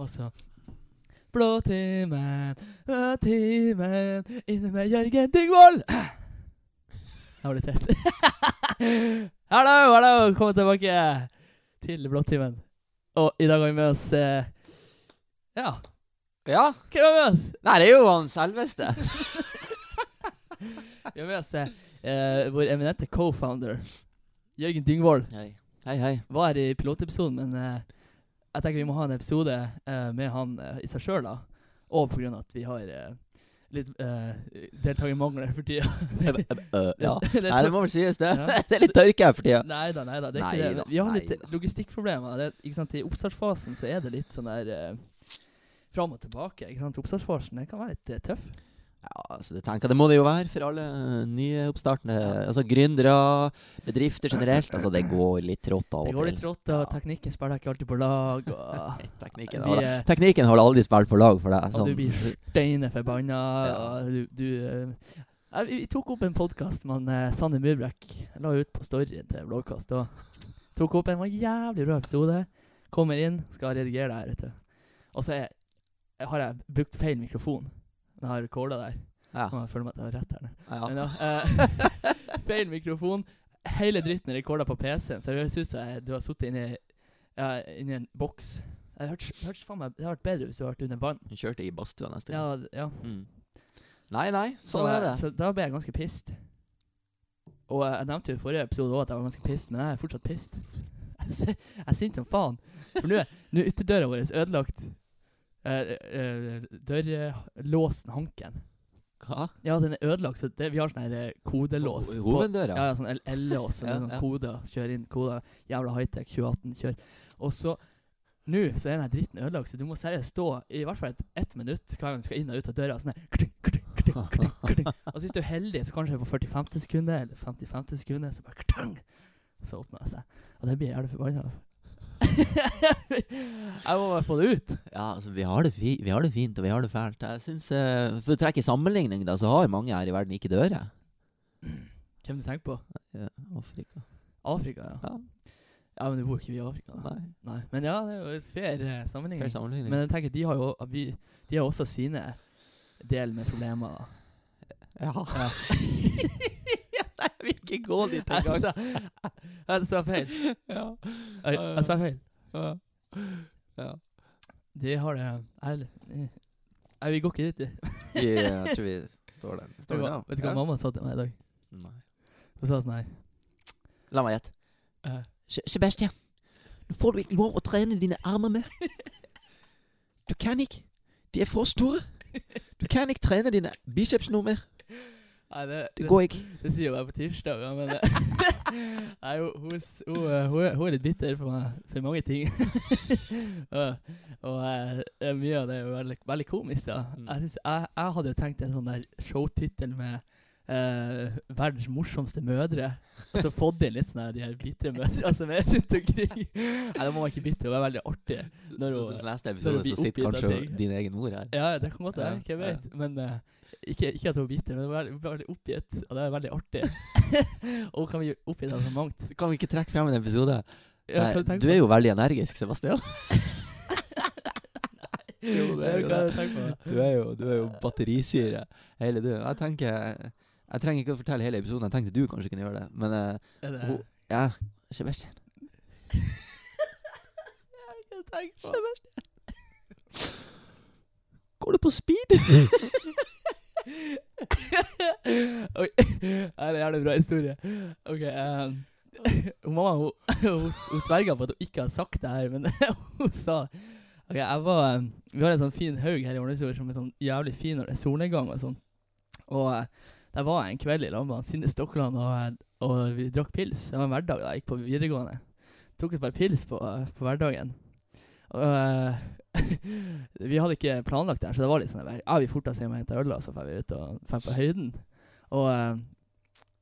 Og så Blå timen, blå timen, inne med Jørgen Dyngvold. Det var litt tett. hallo, hallo, velkommen tilbake til Blåtimen. Og i dag har vi med oss eh, Ja, Ja. hvem er med oss? Nei, det er jo han selveste. Vi har med oss eh, eh, vår eminente co-founder, Jørgen Dyngvold. Hei. Hei, hei. var i pilotepisoden, men eh, jeg tenker vi må ha en episode eh, med han eh, i seg sjøl, da. Og på grunn av at vi har eh, litt uh, deltakermangler for tida. Ø, ø, ø, Ja. Det- Nei, det må vel sies, det. Ja. Det er litt tørke her for tida. Nei da, nei da. Det er ikke Neida, det. Vi har litt neida. logistikkproblemer. Det, ikke sant? I oppstartsfasen så er det litt sånn der eh, fram og tilbake. ikke sant? Oppstartsfasen den kan være litt eh, tøff. Ja, altså, det tenker jeg det må det jo være for alle ø, nye oppstartende. Altså gründere, bedrifter generelt. Altså, det går litt trått av og Det til. går litt rått, og Ja. teknikken spiller deg ikke alltid på lag. Og, Teknikken Vi, har, eh, teknikken har aldri spilt på lag for deg. og du blir steine forbanna. Sånn. Ja. og Du, du, eh, ja, vi vi tok opp en podkast med han, eh, Sanne Murbrek. La ut på storyen til Blåkast. Og tok opp en var en jævlig rød episode. Kommer inn, skal redigere det her. Vet du. Og så er, eh, har jeg brukt feil mikrofon. Jeg har recorda der. ja, Nå føler jeg meg at jeg har rett her. nå. Men ja. ja, eh, feil mikrofon. Hele dritten er recorda på PC-en, så det høres ut som jeg- du har sittet inni, ja, inni en boks. Det hørtes hørtes faen meg Det hadde vært bedre hvis du hadde vært under vann. Hun kjørte i badstua neste gang. Ja, d- ja. Mm. Nei, nei, Så, sånn er det. så da ble jeg ganske pissed. Og eh, jeg jeg nevnte jo i forrige episode også at jeg var ganske pissed, men jeg er fortsatt pissed. Jeg sy- jeg er sint som faen. For nå er nå er ytterdøra vår ødelagt. Eh, eh, Dørlåsen, hanken. Hva? Ja, den er ødelagt, så det, vi har sånn her eh, kodelås. Ho- på- Hoveddøra? Ja, ja, sånn L- L-lås. Ja, Sånn, sånn ja. koder. Kjør inn koder. Jævla high-tech 2018, kjør. Og så nå så er den her dritten ødelagt, så du må seriøst stå i hvert fall et, ett minutt hver gang du skal inn og ut av døra. Sånn her kling, kling, kling, kling, kling. Og så hvis du er heldig, så kanskje det er på 45. sekundet eller 55. sekundet, så bare kling, så åpner det seg. Og det blir jeg jævlig forbanna av. jeg må bare få det ut. Ja, altså, vi, har det fi vi har det fint, og vi har det fælt. Jeg synes, eh, For å trekke i sammenligning, da, så har jo mange her i verden ikke dører. Hvem du tenker på? Ja, Afrika. Afrika, ja. Ja, Ja, men det bor ikke vi i Afrika. Da. nei, Nei. Men ja, det er jo en fair eh, sammenligning. fair sammenligning. Men jeg tenker, de har jo at vi, De har også sine del med problemer. da. ja. Ja. nei, jeg vil ikke gå dit Jeg engang. sa- Jeg sa feil. ja. Jeg, jeg sa feil. ja. De har det Jeg, jeg, vi går ikke dit, vi. Vi, eh, jeg tror vi står den. Vet du Står den hva- av? vet du hva Ja. mamma sa til meg i dag? Nei. Hun sa sånn her La meg gjette. eh, Se- Sebastian, nå får du ikke lov å trene dine armer med. Du kan ikke. De er for store. Du kan ikke trene dine biceps nå mer. Nei, det, Det det, går ikke. det sier jo jeg på tirsdag, ja, men eh, Nei, hun, hun, s- hun, eh, hun, er- hun er litt bitter for, meg, for mange ting. og og eh, mye av det er jo veldig, veldig komisk. da Mm. Jeg, synes, jeg, jeg hadde jo tenkt en sånn der showtittel med eh, 'Verdens morsomste mødre'. Og så fått inn litt sånn her de her bitre mødrene som er rundt omkring. Nei, da må man ikke bytte, hun er veldig artig. Når hun- så, så neste når episode hun blir så sitter oppgitt av kanskje ting. din egen mor her. Ja, det kan godt Ja, være, hvem ja. vet. Men eh, ikke, ikke at hun er bitter, men hun er veldig, veldig oppgitt, og det er veldig artig. og hun kan bli oppgitt av så mangt. Kan vi ikke trekke frem en episode? Ja, hva Nei, tenker du er jo veldig energisk, Sebastian. jo, på? det er jo Hva det. tenker på? Du er jo, du er jo batterisyre. Hele du. Jeg tenker Jeg trenger ikke å fortelle hele episoden. Jeg tenkte du kanskje kunne gjøre det. Men eh, Er det Hun- ja, Sebastian. Jeg tenker på Går du på speed? Oi, det er en jævlig bra historie. Ok, eh, hun mamma hun, hun, s- hun sverga på at hun ikke har sagt det her, men hun sa Ok, jeg var eh, Vi har en sånn fin haug her i Ålesund som er sånn jævlig fin når det er solnedgang og sånn. Og eh, der var jeg en kveld i lag med han Sinde Stokkeland, og, eh, og vi drakk pils. Det var en hverdag da jeg gikk på videregående. Tok et par pils på, eh, på hverdagen. Og eh, vi hadde ikke planlagt det her, så det var litt sånn Ja, vi forta oss hjem og henta øl, og så drar vi ut og drar på høyden. Og eh,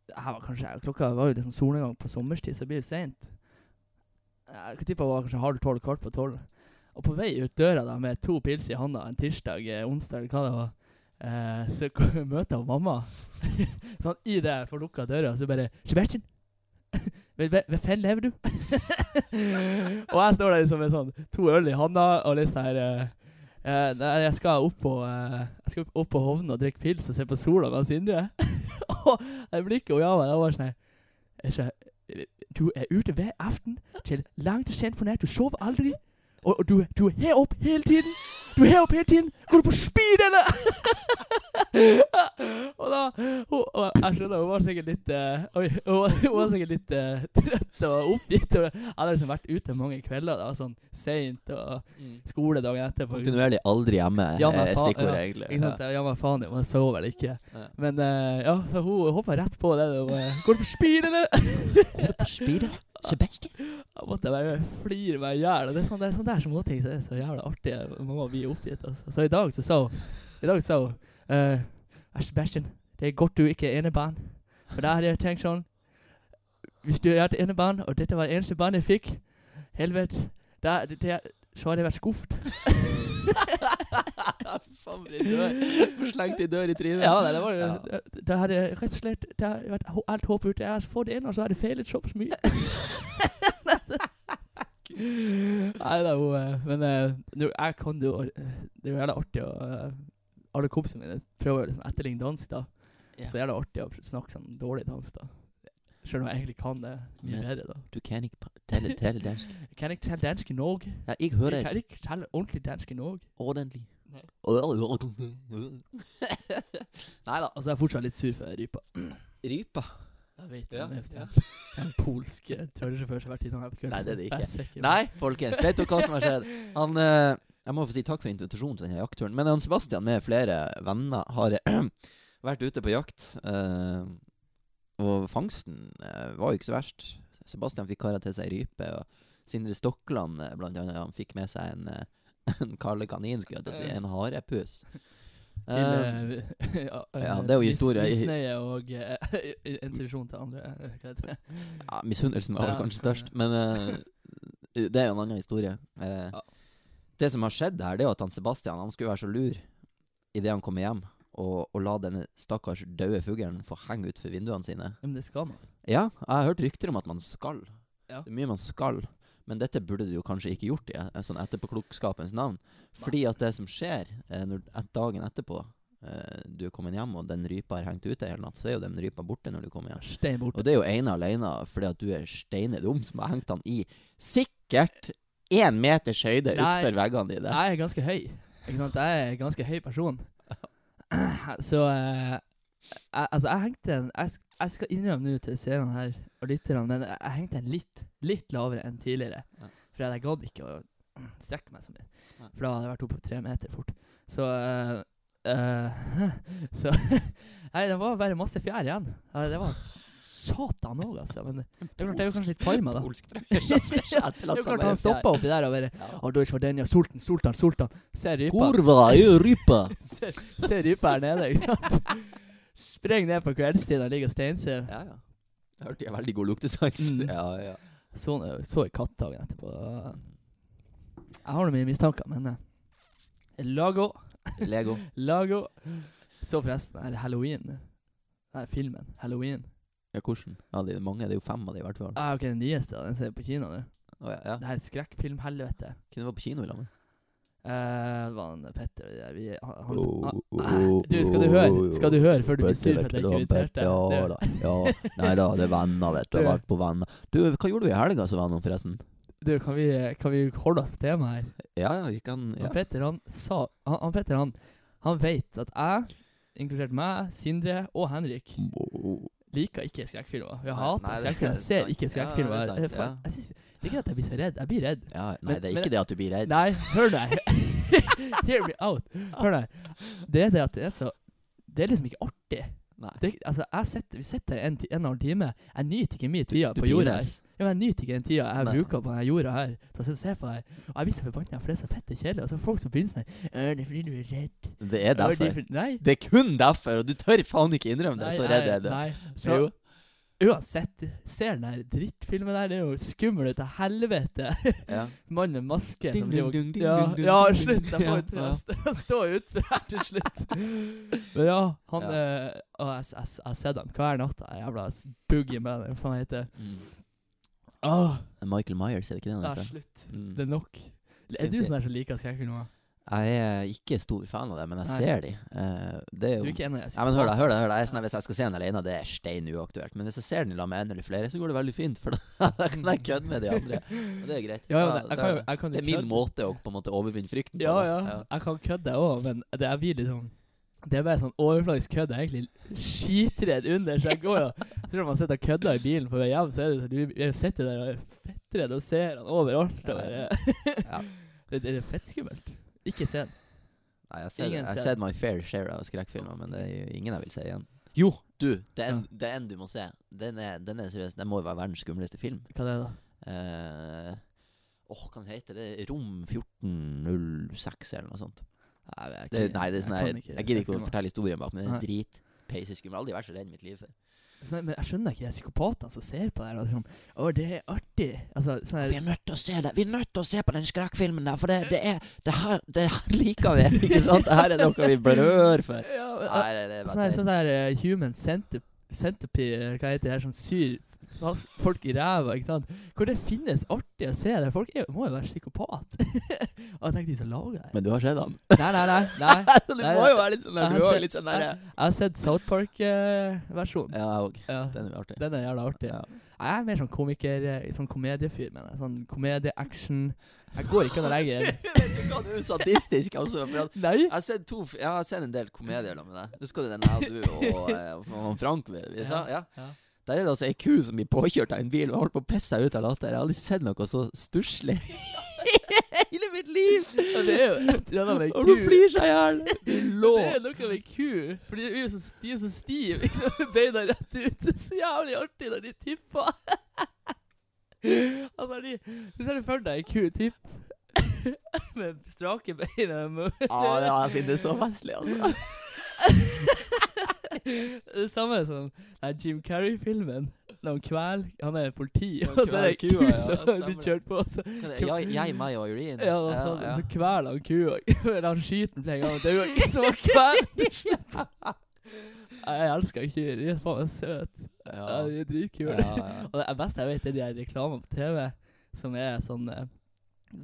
det her var kanskje Klokka var jo liksom solnedgang på sommerstid, så det blir jo seint. Jeg tippa det var kanskje halv tolv, kvart på tolv. Og på vei ut døra da med to pils i handa en tirsdag, eh, onsdag eller hva det var, eh, så kom- møter jeg mamma. sånn i det jeg får lukka døra, så bare 'Sebastian, Men hve- Hvorfor lever du? og jeg står der liksom med sånn to øl i handa og litt sånn her eh, eh, Nei, jeg skal opp på eh, Jeg skal opp på Hovden og drikke pils og se på sola med Sindre. og jeg blikket hun ga meg, det var sånn her jeg sa, Du er ute hver aften til langt og sent på natt. Du sover aldri. Og, og du, du er her oppe hele tiden. Du er her oppe hele tiden. Går du på speed, eller? og da hun, og Jeg skjønner, hun var sikkert litt eh, Oi, hun, hun var sikkert litt eh, trøtt og oppgitt. Og jeg hadde liksom vært ute mange kvelder, da, sånn seint, og skole dagen etterpå. Kontinuerlig aldri hjemme Ja, men er faen, stikkordet, ja. egentlig. Ikke sant? Ja, men faen, man sover vel ikke. Ja. Men eh, ja, så hun hoppa rett på det. Og bare, Går du på speed, eller? Går du på speed, eller? Sebastian? Da måtte jeg bare flire meg i hjel. og Det er sånn det er sånn der småting som er så jævla artig. Mamma blir oppgitt. Altså. Så i dag så sa hun I dag sa hun eh, «Æsj, Sebastian, det er godt du ikke er enebarn. For da hadde jeg tenkt sånn Hvis du er et enebarn, og dette var det eneste barnet jeg fikk, helvete, da det, det, så hadde jeg vært skuffet. Faen, for en dør. For slengt i dør i trynet. Ja, nei, det var jo Ja. da- Da hadde jeg rett og slett da hadde vært ho- alt håpet ute. Jeg har fått det inn, og så har det feilet såpass mye. Nei da, hun eh, Men eh, nå, jeg kan jo eh, Det er jo jævla artig å eh, Alle kompisene mine prøver å liksom etterligne dans, da. Ja. Så det er jævla artig å snakke sånn dårlig dans, da. Selv om jeg egentlig kan det mye Men- bedre, da. Du kan ikke pra- tale, tale dansk. Jeg kan ikke tale dansk i Norge. Jeg har ikke hørt Jeg det kan ikke tale ordentlig dansk i Norge. ordentlig. Nei. Nei da. Og så er Altså, jeg fortsatt litt sur for rypa. Rypa. Jeg vet ja, Ja, det. ja. Ja. En polsk eh, trailersjåfør som har vært innom her på kvelden. Nei, det er det Jeg ikke. sikker på Nei, folkens. Vet dere hva som har skjedd? Han eh, Jeg må få si takk for invitasjonen til denne jaktturen. Men han Sebastian med flere venner har vært ute på jakt. eh, og fangsten eh, var jo ikke så verst. Sebastian fikk kara til seg rype. Og Sindre Stokland, eh, blant annet, han fikk med seg en, eh, en kalle kanin, skulle jeg til å si. En harepus. Eh, Til, eh, ja, ja, det er jo mis- historie i- Misnøye og uh, intensjon til andre. eh, Hva heter det? Ja, Misunnelsen var vel Ja, kanskje kan- størst, men eh, det er jo en annen historie. Eh, Ja. Det som har skjedd her, det er jo at han Sebastian han skulle være så lur idet han kommer hjem, og, og la denne stakkars døde fuglen få henge utfor vinduene sine. Ja, Men det skal man. Ja, jeg har hørt rykter om at man skal. Ja. Det er mye man skal. Men dette burde du jo kanskje ikke gjort i eh, sånn etterpåklokskapens navn. Fordi at det som skjer eh, når, et dagen etterpå eh, du er kommet hjem, og den rypa har hengt ute hele natt, så er jo den rypa borte når du kommer hjem. Stein borte. Og det er jo ene alene fordi at du er steinedum som har hengt han i sikkert én meters høyde Nei. utenfor veggene dine. Jeg er ganske høy. Ikke sant? Jeg er en ganske høy person. Så eh, jeg, Altså, jeg hengte en Jeg, sk- jeg skal innrømme nå til seerne her og lytterne, men jeg, jeg hengte en litt, litt lavere enn tidligere. Ja. For jeg gadd ikke å strekke meg så mye. Nei. For da hadde jeg vært oppe på tre meter fort. Så eh, eh, Så Nei, det var bare masse fjær igjen. Ja, det var satan òg, altså. Men det er klart, det er jo kanskje litt karma, da. Polsk drager som Det er jo klart han stoppa oppi der og bare Ja. og Deutsch Vardenia, sulten, sultan, sultan. Se rypa. Kurva er jo rypa. Se, se rypa her nede, ikke sant? Spreng ned på kveldstid og ligger og steinser. Ja, ja. Jeg hørte jeg har veldig god luktesans. Mm. Ja, ja. Så, så jeg katt dagen etterpå. Jeg har nå mine mistanker, men eh, Lago, Lego. Lago. Så forresten her Halloween. Nei, filmen. Halloween. Ja, hvordan? Ja, det er mange. Det er jo fem av de i hvert fall. Ah, ok, den nyeste, den ser jeg på kino nå. Å, ja, ja. Det her er skrekkfilmhelvete. Kunne vært på kino i lag. Eh, det var han Petter og jeg, vi, han, han, Oh, han, oh, Nei, du, skal du høre? Skal du høre før du blir sur for at jeg ikke inviterte deg? Ja Det- da. Ja. Nei da, det er venner, vet du. Jeg har vært på venner. Du, hva gjorde du i helga som venner, forresten? Du, kan vi, kan vi holde oss på temaet her? Ja, ja, vi kan Han ja. Petter, han sa Han, han Petter, han Han vet at jeg, inkludert meg, Sindre og Henrik, liker ikke skrekkfilmer. Vi Nei, hater nei, det er skrekkfilmer. Jeg ser sant. ikke Ja, skrekkfilmer. det er sant, Jeg- faen, ja. Jeg syns ikke at jeg blir så redd. Jeg blir redd. ja nei, Men- det er men- ikke det at du blir redd. Nei, hør deg. Hear me out. Hør deg. Det er det at det er så Det er liksom ikke artig. Nei. Det, er- altså, jeg sitter, vi sitter her en, ti- en og en halv time. Jeg nyter ikke mye tida Du på jorda. her. pines. Ja, men jeg nyter ikke den tida jeg Nei. bruker på denne jorda her. Så jeg sitter og ser på det her. Og jeg blir så forbanna, for det er så fette kjedelig. Og så er det folk som begynner sånn her, «Øh, Det er fordi du er redd. Det er «Øh, det er derfor. fordi-» Nei. Det er kun derfor, og du tør faen ikke innrømme det. Så redd er du. Nei. Så Jo. uansett, ser den her drittfilmen der, det er jo skummel ut av helvete. Ja. Mann med maske Ding, som driver ding, og ding, ja, ding, ding, ja, ding, ding, slutt! Jeg får ding. jo til Ja, å st- stå ute her til slutt. Men ja, han Ja. eh, Og jeg, jeg, jeg har sett han hver natt, den jævla boogie med den, hva faen heter det? Mm. Åh, Michael Myers, er det ikke det ja, han heter? slutt. Mm. Det er nok. Er du sånn der som liker skrekkfilmer? Jeg er ikke stor fan av det, men jeg Nei. ser de. Eh, det er Du er jo ikke enig? ja, men hør da, hør da, hør da. Jeg er sånn, at Hvis jeg skal se den alene, det er stein uaktuelt. Men hvis jeg ser den sammen med en eller flere, så går det veldig fint. For da da kan jeg kødde med de andre. Og det er greit. Ja, men Da- jeg, jeg da- kan jo jeg kan jo det er min kødde. måte å på en måte overvinne frykten på. Ja, da. ja. Jeg kan kødde òg, men det jeg blir litt sånn Det er bare sånn overfladisk kødd. Jeg er egentlig skitredd under, så jeg går jo Jeg tror man sitter og kødder i bilen på vei hjem, så er det sånn Du jeg sitter jo der og er fettredd og ser han overalt. Og bare, Ja. det, det er fettskummelt. Ikke se den. Nei, jeg ser- Ingen jeg har ser sett my fair share av skrekkfilmer, men det er jo ingen jeg vil se igjen. Jo, du! Det er en, det er en du må se. Den er, den er seriøst, den må jo være verdens skumleste film. Hva det er det, da? Eh, Åh, hva den heter det? Rom 1406 eller noe sånt. Nei, jeg Det, kan- nei, det er sånn jeg her, kan jeg, gidder ikke å skrekkfilmer. fortelle historien bak, men det Nei. er dritpeiseskummel. Jeg har aldri vært så redd i mitt liv før. Sånn, men jeg skjønner ikke de psykopatene som ser på det her og sånn Å, det er artig. Altså, sånn her Vi er nødt til å se det Vi er nødt til å se på den skrekkfilmen der, for det, det er Det her, det her liker vi, ikke sant? Det her er noe vi blør for. Ja, men, Nei, det, det er Sånn bare her, sånn her eh, human centip centipede, hva heter det her, som syr fast folk i ræva, ikke sant? Hvor det finnes artig å se det. Folk er, må jo være psykopat. Og jeg tenkte de som lager det her. Men du har sett han? Nei, nei, nei. nei. du Nei, må jo være litt sånn jeg har der, du er sett- jo litt sånn Jeg, der eh, jeg har sett South Park-versjonen. Ja, og ja. den er artig. Den er jævla artig. Ja. Jeg er mer sånn komiker, eh, sånn komediefyr, mener jeg. Sånn komedie-action. Jeg går ikke når jeg er Vet du hva, du er sadistisk, altså. For at Nei! jeg har sett, to, f- jeg har sett en del komedier sammen med deg. Husker du den jeg og du og, eh, og han Frank vi, vi sa? Ja. Ja. Der er det altså ei ku som blir påkjørt av en bil og holdt på å pisse seg ut av latter. Jeg har aldri sett noe så stusslig i hele mitt liv! Og det er jo et eller annet med Og hun ku. flir seg i hjel! Lå Det er noe med ku, for de er jo så stive, så stive, liksom, beina rett ut. Det er så jævlig artig når de tipper. Altså, når de, du ser det for deg, en ku tipp, med strake beina. med- ah, ja, jeg finner det så festlig, altså. Det samme som nei, Jim Carrey-filmen, når han kvel, han er politi, Ja, og så er det kvel en ku kua, ja, som stemmer blir det. kjørt på, og så Jeg, jeg meg og Irene. Ja, da, så, Ja, ja. så kveler han kua. Eller han skyter den flere ganger. Det er jo ikke som å kvele. Nei, Jeg elsker kuer. De er faen meg søte. Ja. Ja. De er dritkule. Ja, ja. Og det beste jeg vet, er de her reklamene på TV som er sånn eh,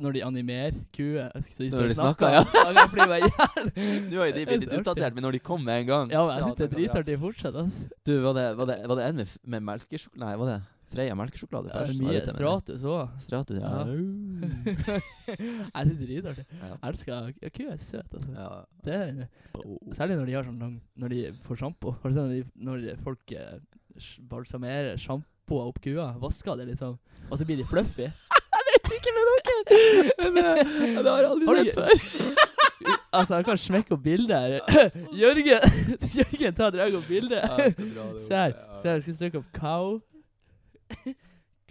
Når de animerer kuer. Så de står Når de og snakker. snakker, ja. jeg flyr meg i hjel. Nå har jo de blitt litt Det er så artig. utdatert, men når de kom med en gang Ja, men så jeg syns det er tenkte jeg, ja. dritartig fortsatt, ass. Du, var det, var det, var det en med, f- med melkesjokolade? Nei, var det Freia melkesjokolade Det er først? mye som var ute med det? Stratus òg. Stratus, ja. Ja. jeg syns det er dritartig. Ja. Jeg elsker ja, kuer. er søte, altså. ja. Det er Særlig når de har sånn lang Når de får sjampo. Har du sett Når, de- når de- folk eh, sj- balsamerer sjampoa opp kua, vasker det liksom, og så blir de fluffy. Ikke med dere! Men eh, det har jeg aldri Har du- sett før. Altså, jeg kan smekke opp bilde her. Jørgen, Jørgen ta og drag opp bilde. Se her. Se her, jeg skal søke opp cow.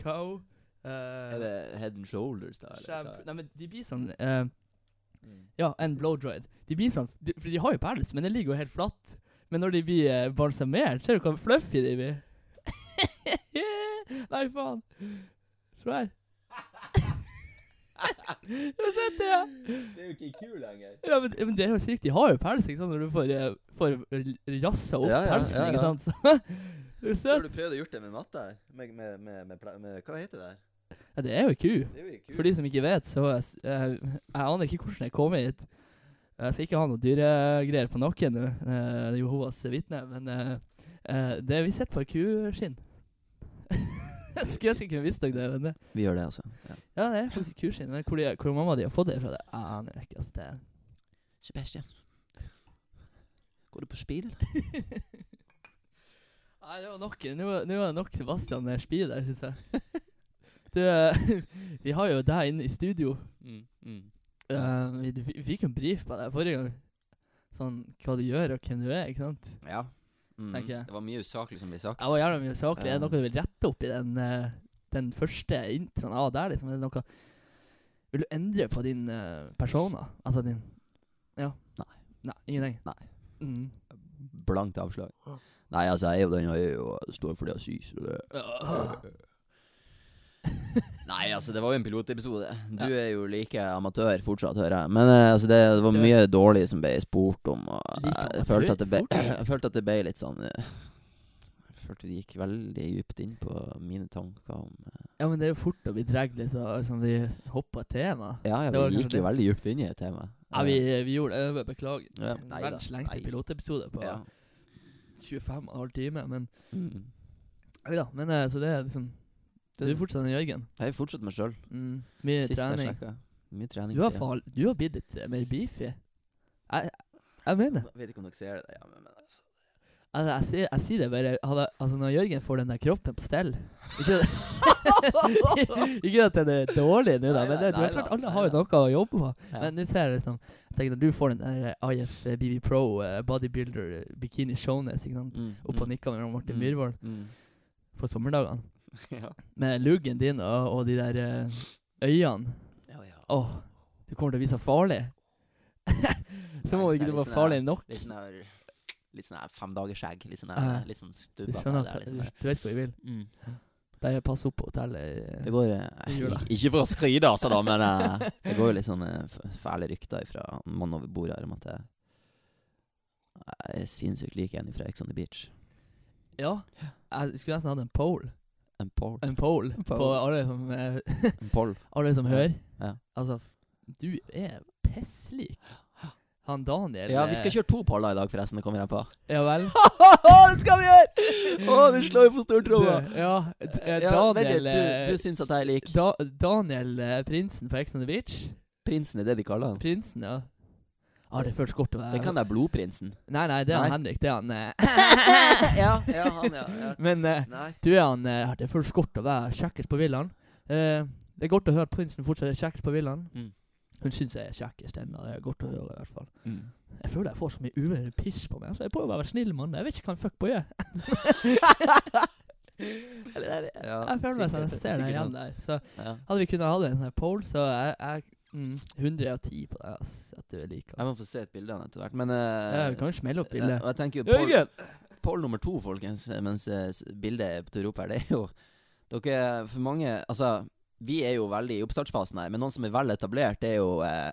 Cow. eh, Er det Head and Shoulders, da? Eller? shampoo- hva? Nei, men de blir sånn eh, Mm. Ja, en blowdroid. De blir sånn de, For de har jo pels, men det ligger jo helt flatt. Men når de blir eh, balsamert, ser du hvor fluffy de blir? Nei, faen. Se her. Du har sett det, ja. Det er jo ikke kul lenger. ja men, men det er jo sykt. De har jo pels, ikke sant, når du får, eh, får r- jassa opp Ja, ja, pelsen, ja, ja. ikke sant. Så, det er jo Har søt. du prøvd å gjøre det med matte her? Med, med, med, med, pla- med Hva heter det der? Ja, det er jo ei ku. Det er jo ikke For de som ikke vet, så eh, s- eh, Jeg aner ikke hvordan jeg kom hit. Jeg skal ikke ha noe dyregreier på nakken nå, eh, Jehovas vitne, men eh, eh, det vi sitter på, er kuskinn. jeg skulle ønske jeg kunne visst dere det, men det, Vi gjør det, altså. Ja. ja, det er faktisk kuskinn. Men hvor, de, hvor mamma de har fått det fra, det aner jeg ikke. Altså, det, Sebastian. Går du på spill? Nei, det var nok. eh, Nå var- nå var det nok Sebastian med spy der, syns jeg. Du, eh, vi har jo deg inne i studio. Mm, mm. Eh, vi, du fi- fikk jo en brief på deg forrige gang. Sånn hva du gjør, og hvem du er, ikke sant? Ja. Mm. Tenker jeg. Det var mye usaklig som ble sagt. Jeg var gjerne mye saklig. Er det Ja. noe du vil rette opp i den, eh, den første introen av der? Liksom? Er det noe Vil du endre på din eh, persona? Altså din Ja. Nei. Nei, Ingenting? Nei. Mm. Blankt avslag. Nei, altså, jeg er jo den jeg er jo står for det jeg sier, så det Ah. Nei, altså, det var jo en pilotepisode. Du er jo like amatør fortsatt, hører jeg. Men eh, altså, det, det var Ja. mye dårlig som ble spurt om, og Like jeg, amatør følte at det ble, fortsatt? jeg følte at det ble litt sånn eh, følte vi gikk veldig dypt inn på mine tanker om eh, Ja, men det er jo fort å bli dratt litt sånn som vi hoppa tema. Ja, ja Det var vi kanskje gikk jo det. veldig dypt inn i temaet. Ja, Eh, vi, vi gjorde det. jeg Beklager. Ja, nei da, Verdens lengste nei. pilotepisode på ja. 25 og en halv time. Men, Mm. ja, da, men eh, så det er liksom Du er fortsatt en Jørgen. Jeg fortsetter meg sjøl. Mm, mye trening. Mye trening. Du har, for tiden. fal du har blitt litt eh, mer beefy. Jeg, jeg mener det. Jeg vet ikke om dere ser det, ja, men, men altså. Altså, jeg, sier- jeg sier det bare hadde, Altså, når Jørgen får den der kroppen på stell Ikke, ikke at den er dårlig nå, da, Nei, men det, nei, det nei er klart da, alle nei har jo da. noe å jobbe på. Ja. Men nå ser jeg liksom Jeg tenker Når du får den der eh, IF BB Pro eh, bodybuilder eh, bikini shownes ikke sant? Mm, opp og mm, nikka med Martin Mm. Myhrvold Mm. på sommerdagene, Ja. med luggen din og, og de der eh, øynene Ja, ja. Åh, du kommer til å bli så farlig. så må Nei, ikke du det er litt være sånn farlig der- nok. Litt sånn her Litt sånn her femdagersskjegg. Litt sånn Ja. her, litt sånn Du stubbete. skjønner, der, liksom. du vet hvor jeg vil. Mm. Bare pass opp på hotellet. eh. Det går eh, Det gjør det. ik- Ikke for å skryte, altså, da, men eh, det går jo litt sånn eh, f- fæle rykter fra mannen over bordet her om at jeg jeg er sinnssykt lik en fra Ex on the Beach. Ja. Jeg skulle nesten hatt en poll. En Paul. En poll En poll. på alle som, eh, En Paul. alle som hører. Ja. Altså, f- du er pisslik. Han Daniel Ja, vi skal eh, kjøre to Pauler i dag, forresten. Det kommer jeg på. Ja vel. det skal vi gjøre! Å, du slår jo på Du, stortromma. ja, d- eh, Ja, vet Daniel du, du, eh, du syns at jeg er lik da, Daniel eh, Prinsen på Ex on the Beach. prinsen, er det de kaller han? Prinsen, ja. Ja, det føles godt å være Det kan være blodprinsen. Nei, nei, det er han Nei. Henrik. Det er han eh. ja, ja, han, ja. ja. Men eh, Nei. du er han eh, ja, Det føles godt å være kjekkest på villaen. Eh, det er godt å høre at prinsen fortsatt er kjekkest på villaen. Mm. Hun syns jeg er kjekkest ennå. Det er godt å høre, i hvert fall. Mm. Jeg føler jeg får så mye uvenner piss på meg. Altså, jeg prøver å være snill mann. Jeg vet ikke hva en fuckboy er. Eller, det er det. Ja, jeg føler meg som sikkert- jeg ser deg sikkert igjen han. der. Så Ja. hadde vi kunnet hatt en sånn her poll, så jeg, jeg mm, 110 på deg ass, at du er lik Jeg han. må få se et bilde av han etter hvert. Men eh, Ja, vi kan jo smelle opp eh, bildet. og jeg tenker jo Paul, Jørgen! Paul nummer to, folkens, eh, mens eh, s- bildet er på tur opp her, det er jo Dere For mange Altså, vi er jo veldig i oppstartsfasen her, men noen som er vel etablert, det er jo eh,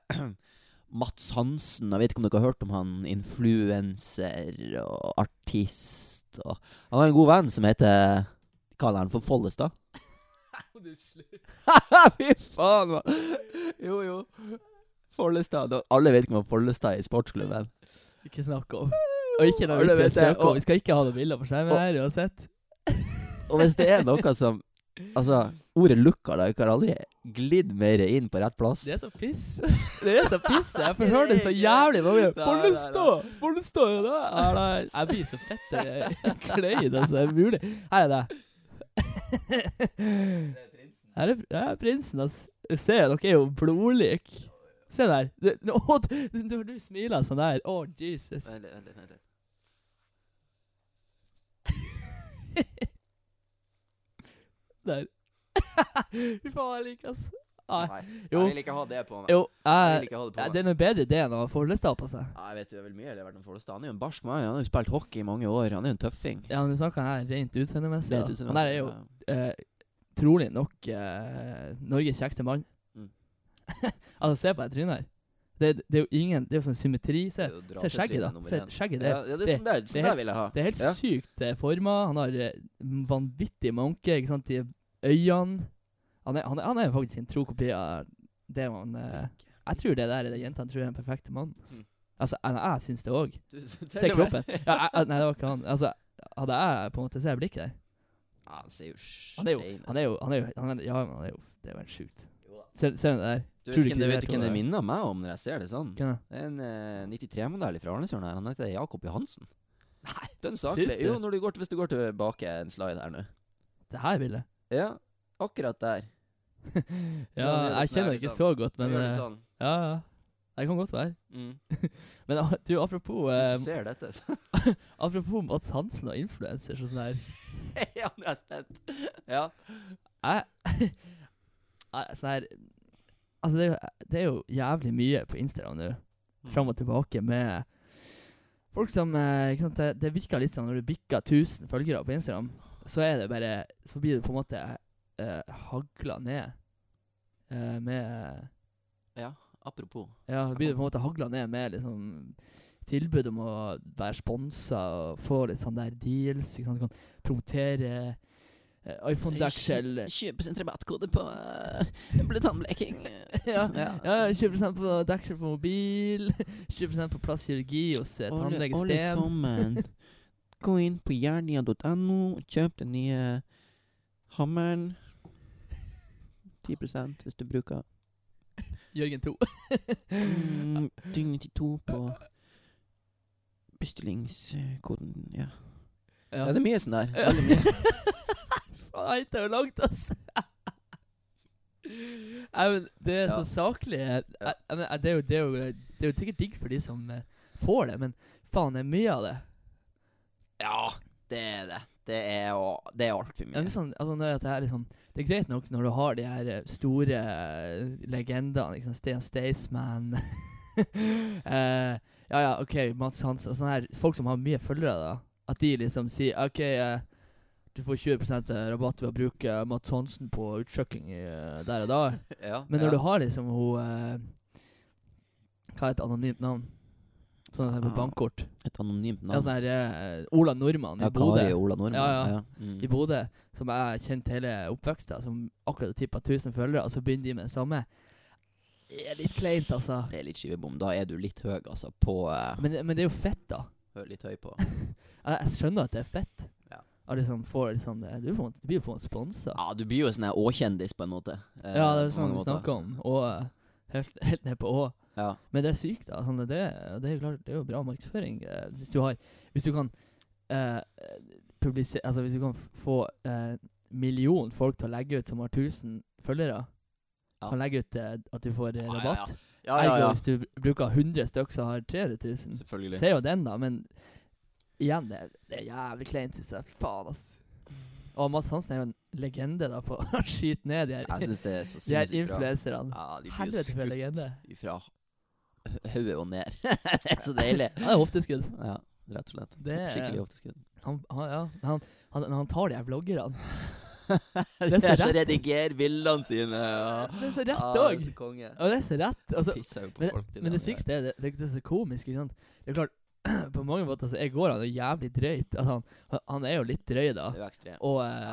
Mats Hansen. Jeg vet ikke om dere har hørt om han. Influenser og artist og Han har en god venn som heter Hva kaller han for Follestad? Fy faen, mann! Jo, jo. Follestad. og Alle vet ikke om Follestad er i sportsklubben. Ikke snakk om. Og ikke noe Alle vits i å vet det, søke om. og- Vi skal ikke ha noen bilder på skjermen og- her uansett. Og hvis det er noe som Altså, ordet lookalike har aldri glidd mer inn på rett plass. Det er så piss. Det er så piss. det. Jeg får Det er høre det så ikke- jævlig mange Nei, Får du nei, stå? Får du stå i det? Ja, nei. Jeg blir så fett eh, klein, altså. Det er mulig. Her er det. Her er, her er prinsen, altså. Se, dere er jo blodlik. Se der. Det- nå- Å, d- Når du smiler sånn der. Å, Jesus. Vent litt, vent litt, vent litt. Der. Fy faen, jeg liker altså. Nei. Nei, Jo. jeg vil ikke ha det på meg. Jo, Jeg jeg vil ikke ha det Ja, på det meg. er noe bedre det enn å få lysta på seg. Ja, jeg vet du er vel mye eller vært om Follestad. Han er jo en barsk mann. Han har jo spilt hockey i mange år. Han er jo en tøffing. Ja, men du snakker her rent utseendemessig. Det da. er tusen Han der er jo takk. eh, trolig nok eh, Norges kjekkeste mann. Mm. altså, se på det trynet her. Det, det er jo ingen Det er jo sånn symmetri. Det Se, er jo se skjegget, dratetrynet da. nummer Se én. skjegget Ja, der. ja, det er sånn der, sånn helt- der vil jeg ha. Det er helt Ja. sykt eh, forma. Han har eh, vanvittig manke, ikke sant, i øynene. Han er, han, er, han er faktisk en tro kopi av det man eh, Jeg tror det der er det jentene tror er den perfekte mannen. Mm. Altså, jeg, jeg syns det òg. Du- Se kroppen. Ja, jeg, jeg- nei, det var ikke han. Altså, hadde jeg på en måte sett blikket der Ja, han ser jo Han er jo stein ut. Han er jo, han er jo, han er, Ja, men han er jo Det er veldig sjukt. Jo da. Mm. Ser ser du det der? Du Tror du ikke vet ikke det- det vet er du hvem to- det minner meg om når jeg ser det sånn? Hvem er det? Det er en eh, 93-modell fra Arnesjøen her. Han heter Jakob Johansen. Nei, Den syns saklig. du? Jo, når du går, til- hvis du går tilbake en slide her nå. Det her bildet? Ja, akkurat der. Ja, Ja, det er jeg sånn kjenner her, ikke liksom. så godt, men Men, gjør eh, litt sånn. Ja, ja. Det kan godt være. Mm. Men ah, du, apropos eh, Hvis du ser dette, så Apropos Mads Hansen og influenser og sånn her. Ja, nå er jeg spent. Ja. Jeg jeg- Sånn her Altså, det er, jo, det er jo jævlig mye på Instagram nå. Mm. fram og tilbake med folk som eh, ikke sant, det, det virker litt sånn når du bikker 1000 følgere på Instagram, så er det bare Så blir du på en måte eh, hagla ned eh, med Ja, apropos. Ja, blir du på en måte hagla ned med liksom tilbud om å være sponsa og få litt sånn der deals. Ikke sant? Du kan promotere eh, iPhone-deksel. 20 rabattkode på uh, blutannbleking. ja. ja, 20 på deksel på mobil, 20 på plastkirurgi hos eh, tannlege Sten. sammen. Gå inn på jernia.no og kjøp den nye hammeren. 10 hvis du bruker Jørgen 2. mm, Ding 92 på bestillingskoden. Ja. Ja. det er mye sånn der. Ja. Veldig mye. Faen, jeg gikk det jo langt, ass. Nei, men det er så saklig. Jeg, jeg, men det, er jo, det, er jo, det er jo sikkert digg for de som eh, får det, men faen, det er mye av det. Ja, det er det. Det er, å- det er altfor Det er, litt sånn, altså, når at det, er liksom, det er greit nok når du har de her eh, store eh, legendene, liksom Sten Staysman eh, Ja, ja, OK, Mats Hansen. Sånne her, folk som har mye følgere, da. At de liksom sier OK, eh, du får 20 rabatt ved å bruke Mats Hansen på utsjekking eh, der og da. Ja, Men når ja. du har liksom hun eh, Hva er et anonymt navn? Sånn at det er på Ah, bankkort. Et anonymt Ja, navn. sånn her eh, Ola Nordmann i Ja, Bodø. Kari Ola Nordmann. Ja, ja. Mm. I Bodø, som jeg har kjent hele oppveksten, som akkurat har tippa 1000 følgere, og så begynner de med det samme. Det er litt kleint, altså. Det er litt skivebom. Da er du litt høy, altså. På eh, Men, men det er jo fett, da. hø- Litt høy på. Jeg, jeg skjønner at det er fett. Ja. Og liksom får litt sånn Du, får, du blir jo på en sponsa. Ja, du blir jo sånn her Å-kjendis, på en måte. Eh, Ja, det er på sånn mange vi måter. snakker om. Og eh, helt, helt ned på Å. Ja. Men det er sykt, da. Sånn, det, det er jo klart, det er jo bra markedsføring. eh, hvis du har Hvis du kan eh, publisere Altså, hvis du kan f- få eh, million folk til å legge ut som har 1000 følgere, Ja. kan legge ut eh, at du får eh, Ja, ja, ja. rabatt. Ja, ja, Ergo, ja. hvis du br- bruker 100 stykk som har 300 000, Selvfølgelig. ser jo den, da. Men igjen, det, det er jævlig kleint, syns jeg. Faen, ass. Og Mads Hansen er jo en legende da på å skyte ned de Jeg her, syns det er de så her sinnssykt bra. influenserne. Ja, de blir jo Helvete, for en skutt legende. ifra hø- hodet og ned. det er så deilig. Ja, det er hofteskudd. Ja, rett og slett. Det er- Skikkelig hofteskudd. Han, han, ja, men han, han, han tar de her vloggerne. De er så er så rett. redigerer bildene sine. Ja. Det er så rett Ja, det òg! er så konge. Og det er så rett. Altså, Pisser jo på men, folk. de men det der. sykeste er det, det, det er så komisk. Ikke sant? Det er klart, på mange måter så er går han jo jævlig drøyt. Altså, han, han er jo lilitt drøy, da. Det er jo ekstremt. Og eh,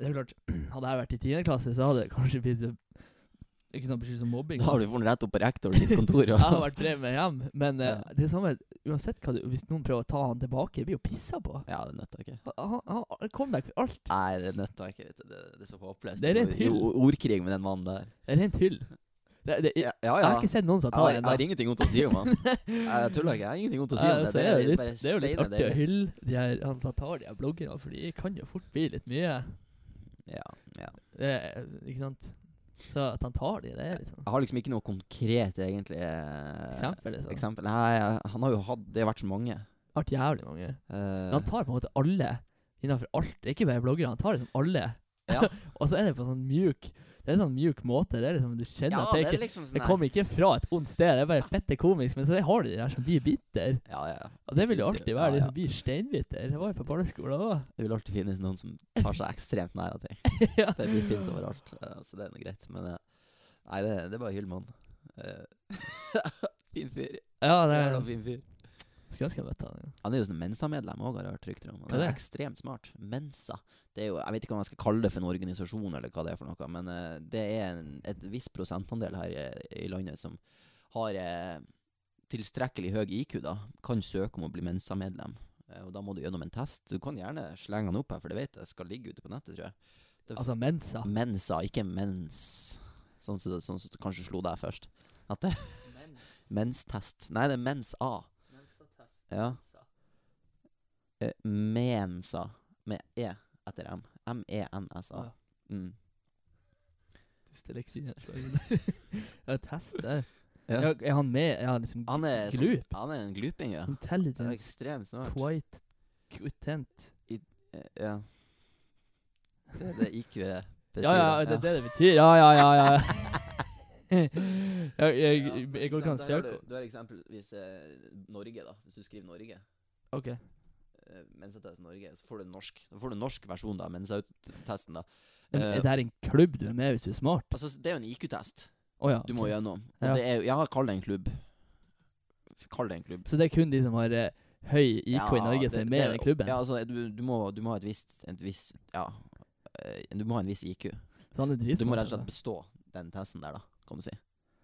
det er klart, hadde jeg vært i 10. klasse, så hadde det kanskje blitt eh, Ikke sant, beskyldt som mobbing. Da har du funnet rett opp på rektor sitt kontor. jeg har vært drevet med hjem, men eh, Ja. det samme uansett hva du Hvis noen prøver å ta han tilbake, det blir jo pissa på. Ja, det nøtta ikke. Han, han, han kom deg for alt. Nei, det nøtta ikke. vet du. Det, det er så håpløst. Det er rent I hyll. o- ordkrig med den mannen der. Det er rent hyll. Det, det, Ja, ja. Jeg har ikke sett noen som Jeg har, tar jeg den. da. har ingenting godt å si om han. Jeg tuller ikke. Jeg har ingenting godt å si Ja, om det. altså, er jo litt, bare det er jo litt artig steine å deilig. hylle de her, han som tar de her bloggerne, for de kan jo fort bli litt mye. Ja, ja. Det, er- ikke sant? Så at han tar de, det er liksom Jeg har liksom ikke noe konkret, egentlig. eh, eksempel. Liksom. eksempel. Nei, jeg- han har jo hatt Det har vært så mange. Vært jævlig mange. Eh, Men han tar på en måte alle innenfor alt. Det er ikke bare bloggere, han tar liksom alle. Ja. Og så er det på sånn mjuk Det er sånn mjuk måte. Det er liksom Du kjenner ja, at det det er ikke liksom sånn Det her- kommer ikke fra et ondt sted. Det er bare fette komisk. Men så har du de der som blir bitter. Ja, ja. ja. Og det vil jo Finnes det. alltid være de Ja, som blir steinbitter. Det var jo på barneskolen òg. Det vil alltid finnes noen som tar seg ekstremt nær av ting. ja. Det de finnes overalt, eh, så det er noe greit. Men eh, nei, det, det er bare hyll, mann. Eh, fin fyr. ja, det er, Jævla fin fyr. skulle ønske jeg møtte han. Ja. Han er jo sånn Mensa-medlem òg, har jeg hørt rykter om. Hva Han er er det? ekstremt smart. Mensa. Det er jo, jeg vet ikke om jeg skal kalle det for en organisasjon, eller hva det er for noe, men eh, det er en et viss prosentandel her i, i landet som har eh, tilstrekkelig høy IQ, da, kan søke om å bli Mensa-medlem. Eh, og da må du gjennom en test. Du kan gjerne slenge han opp her, for det vet jeg skal ligge ute på nettet, tror jeg. Altså Mensa. Mensa, ikke mens. Sånn som sånn som du kanskje slo deg først. At det Menstest. Nei, det er mens A. Ja. Eh, Mensa. Med E etter M. E M-E-N-S-A. Ja. Mm. Ja, test der. Ja. Ja, er han med? Er han liksom Han er sånn- Glup. Han er en gluping, ja. Han er intelligence ekstremt smart. quite content? Eh, Ja. Det er det IQ er. Ja, ja, det er det det betyr. Ja, ja, ja. ja. ja jeg, jeg, jeg går ikke an å søke Du, har eksempelvis Norge, da. Hvis du skriver Norge. Ok. Mensatesten Norge, så får du norsk. Da får du norsk versjon, da. Mensa-testen, da. Men Eh, er det her en klubb du er med i hvis du er smart? Altså, det er jo en IQ-test Å ja. du må ok. gjennom. Og Ja. det er jo Ja, kall det en klubb. kall det en klubb. Så det er kun de som har eh, høy IK i Norge, som er med i den klubben. Ja, altså, du, du, må, du må ha et visst, et visst Ja. eh, Du må ha en viss IQ. så han er Du må dritsmart. rett og slett altså. bestå den testen der, da, kan du si.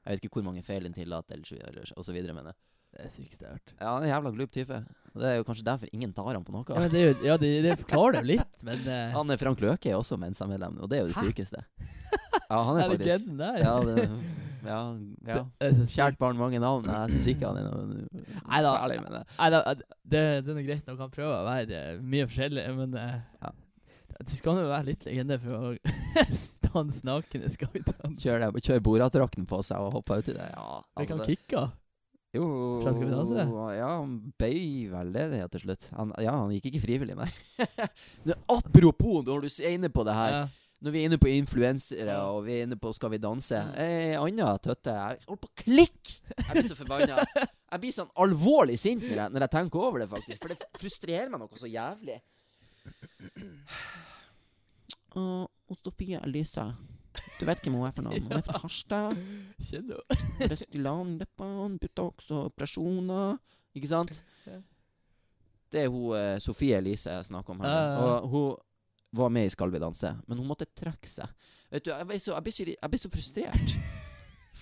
Jeg vet ikke hvor mange feil den tillater, eller så videre, eller så- og så videre, men eh, Det er sykeste jeg har hørt. Ja, han er en jævla glup type. Og det er jo kanskje derfor ingen tar han på noe. Ja, men det, er jo, ja det, det forklarer det jo litt, men eh, Han er Frank Løke er også Mensa-medlem, og det er jo det Hæ? sykeste. Ja, han er er det faktisk gleden der? Ja, det, ja, Det ja. er så sykt. Kjært barn, mange navn. Nei, Jeg syns ikke han er noe Nei da. særlig, men eh, Nei, da, eh, det, det er noe greit nok. Han prøver å være eh, mye forskjellig, men eh, Ja. Du skal jo være litt legende for å stanse nakne skauttdans. kjør, det- kjør bordattrakten på seg og hopp uti det. Ja, altså, Det kan det- kicke. Jo Fra Skal vi danse? Ja, han bøy vel det det til slutt. Han, ja, han gikk ikke frivillig, nei. Men Apropos når du er inne på det her. Ja. Når vi er inne på influensere Ja. og vi er inne på Skal vi danse Mm. Ei anna tøtte Jeg holder på å klikke! Jeg blir så forbanna. Jeg blir sånn alvorlig sint når jeg, når jeg tenker over det, faktisk. For det frustrerer meg noe så jævlig. Uh, Sofie Elise. Du vet hvem hun er for noe? Hun er fra Harstad. Kjenner du? Røstilan, leppene, Botox og operasjoner. Ikke sant? Ja. Det er hun eh, Sofie Elise jeg snakker om her. Ja, nå. ja, ja. Og hun var med i Skal vi danse, men hun måtte trekke seg. Vet du, jeg ble så, jeg ble så, jeg ble så frustrert.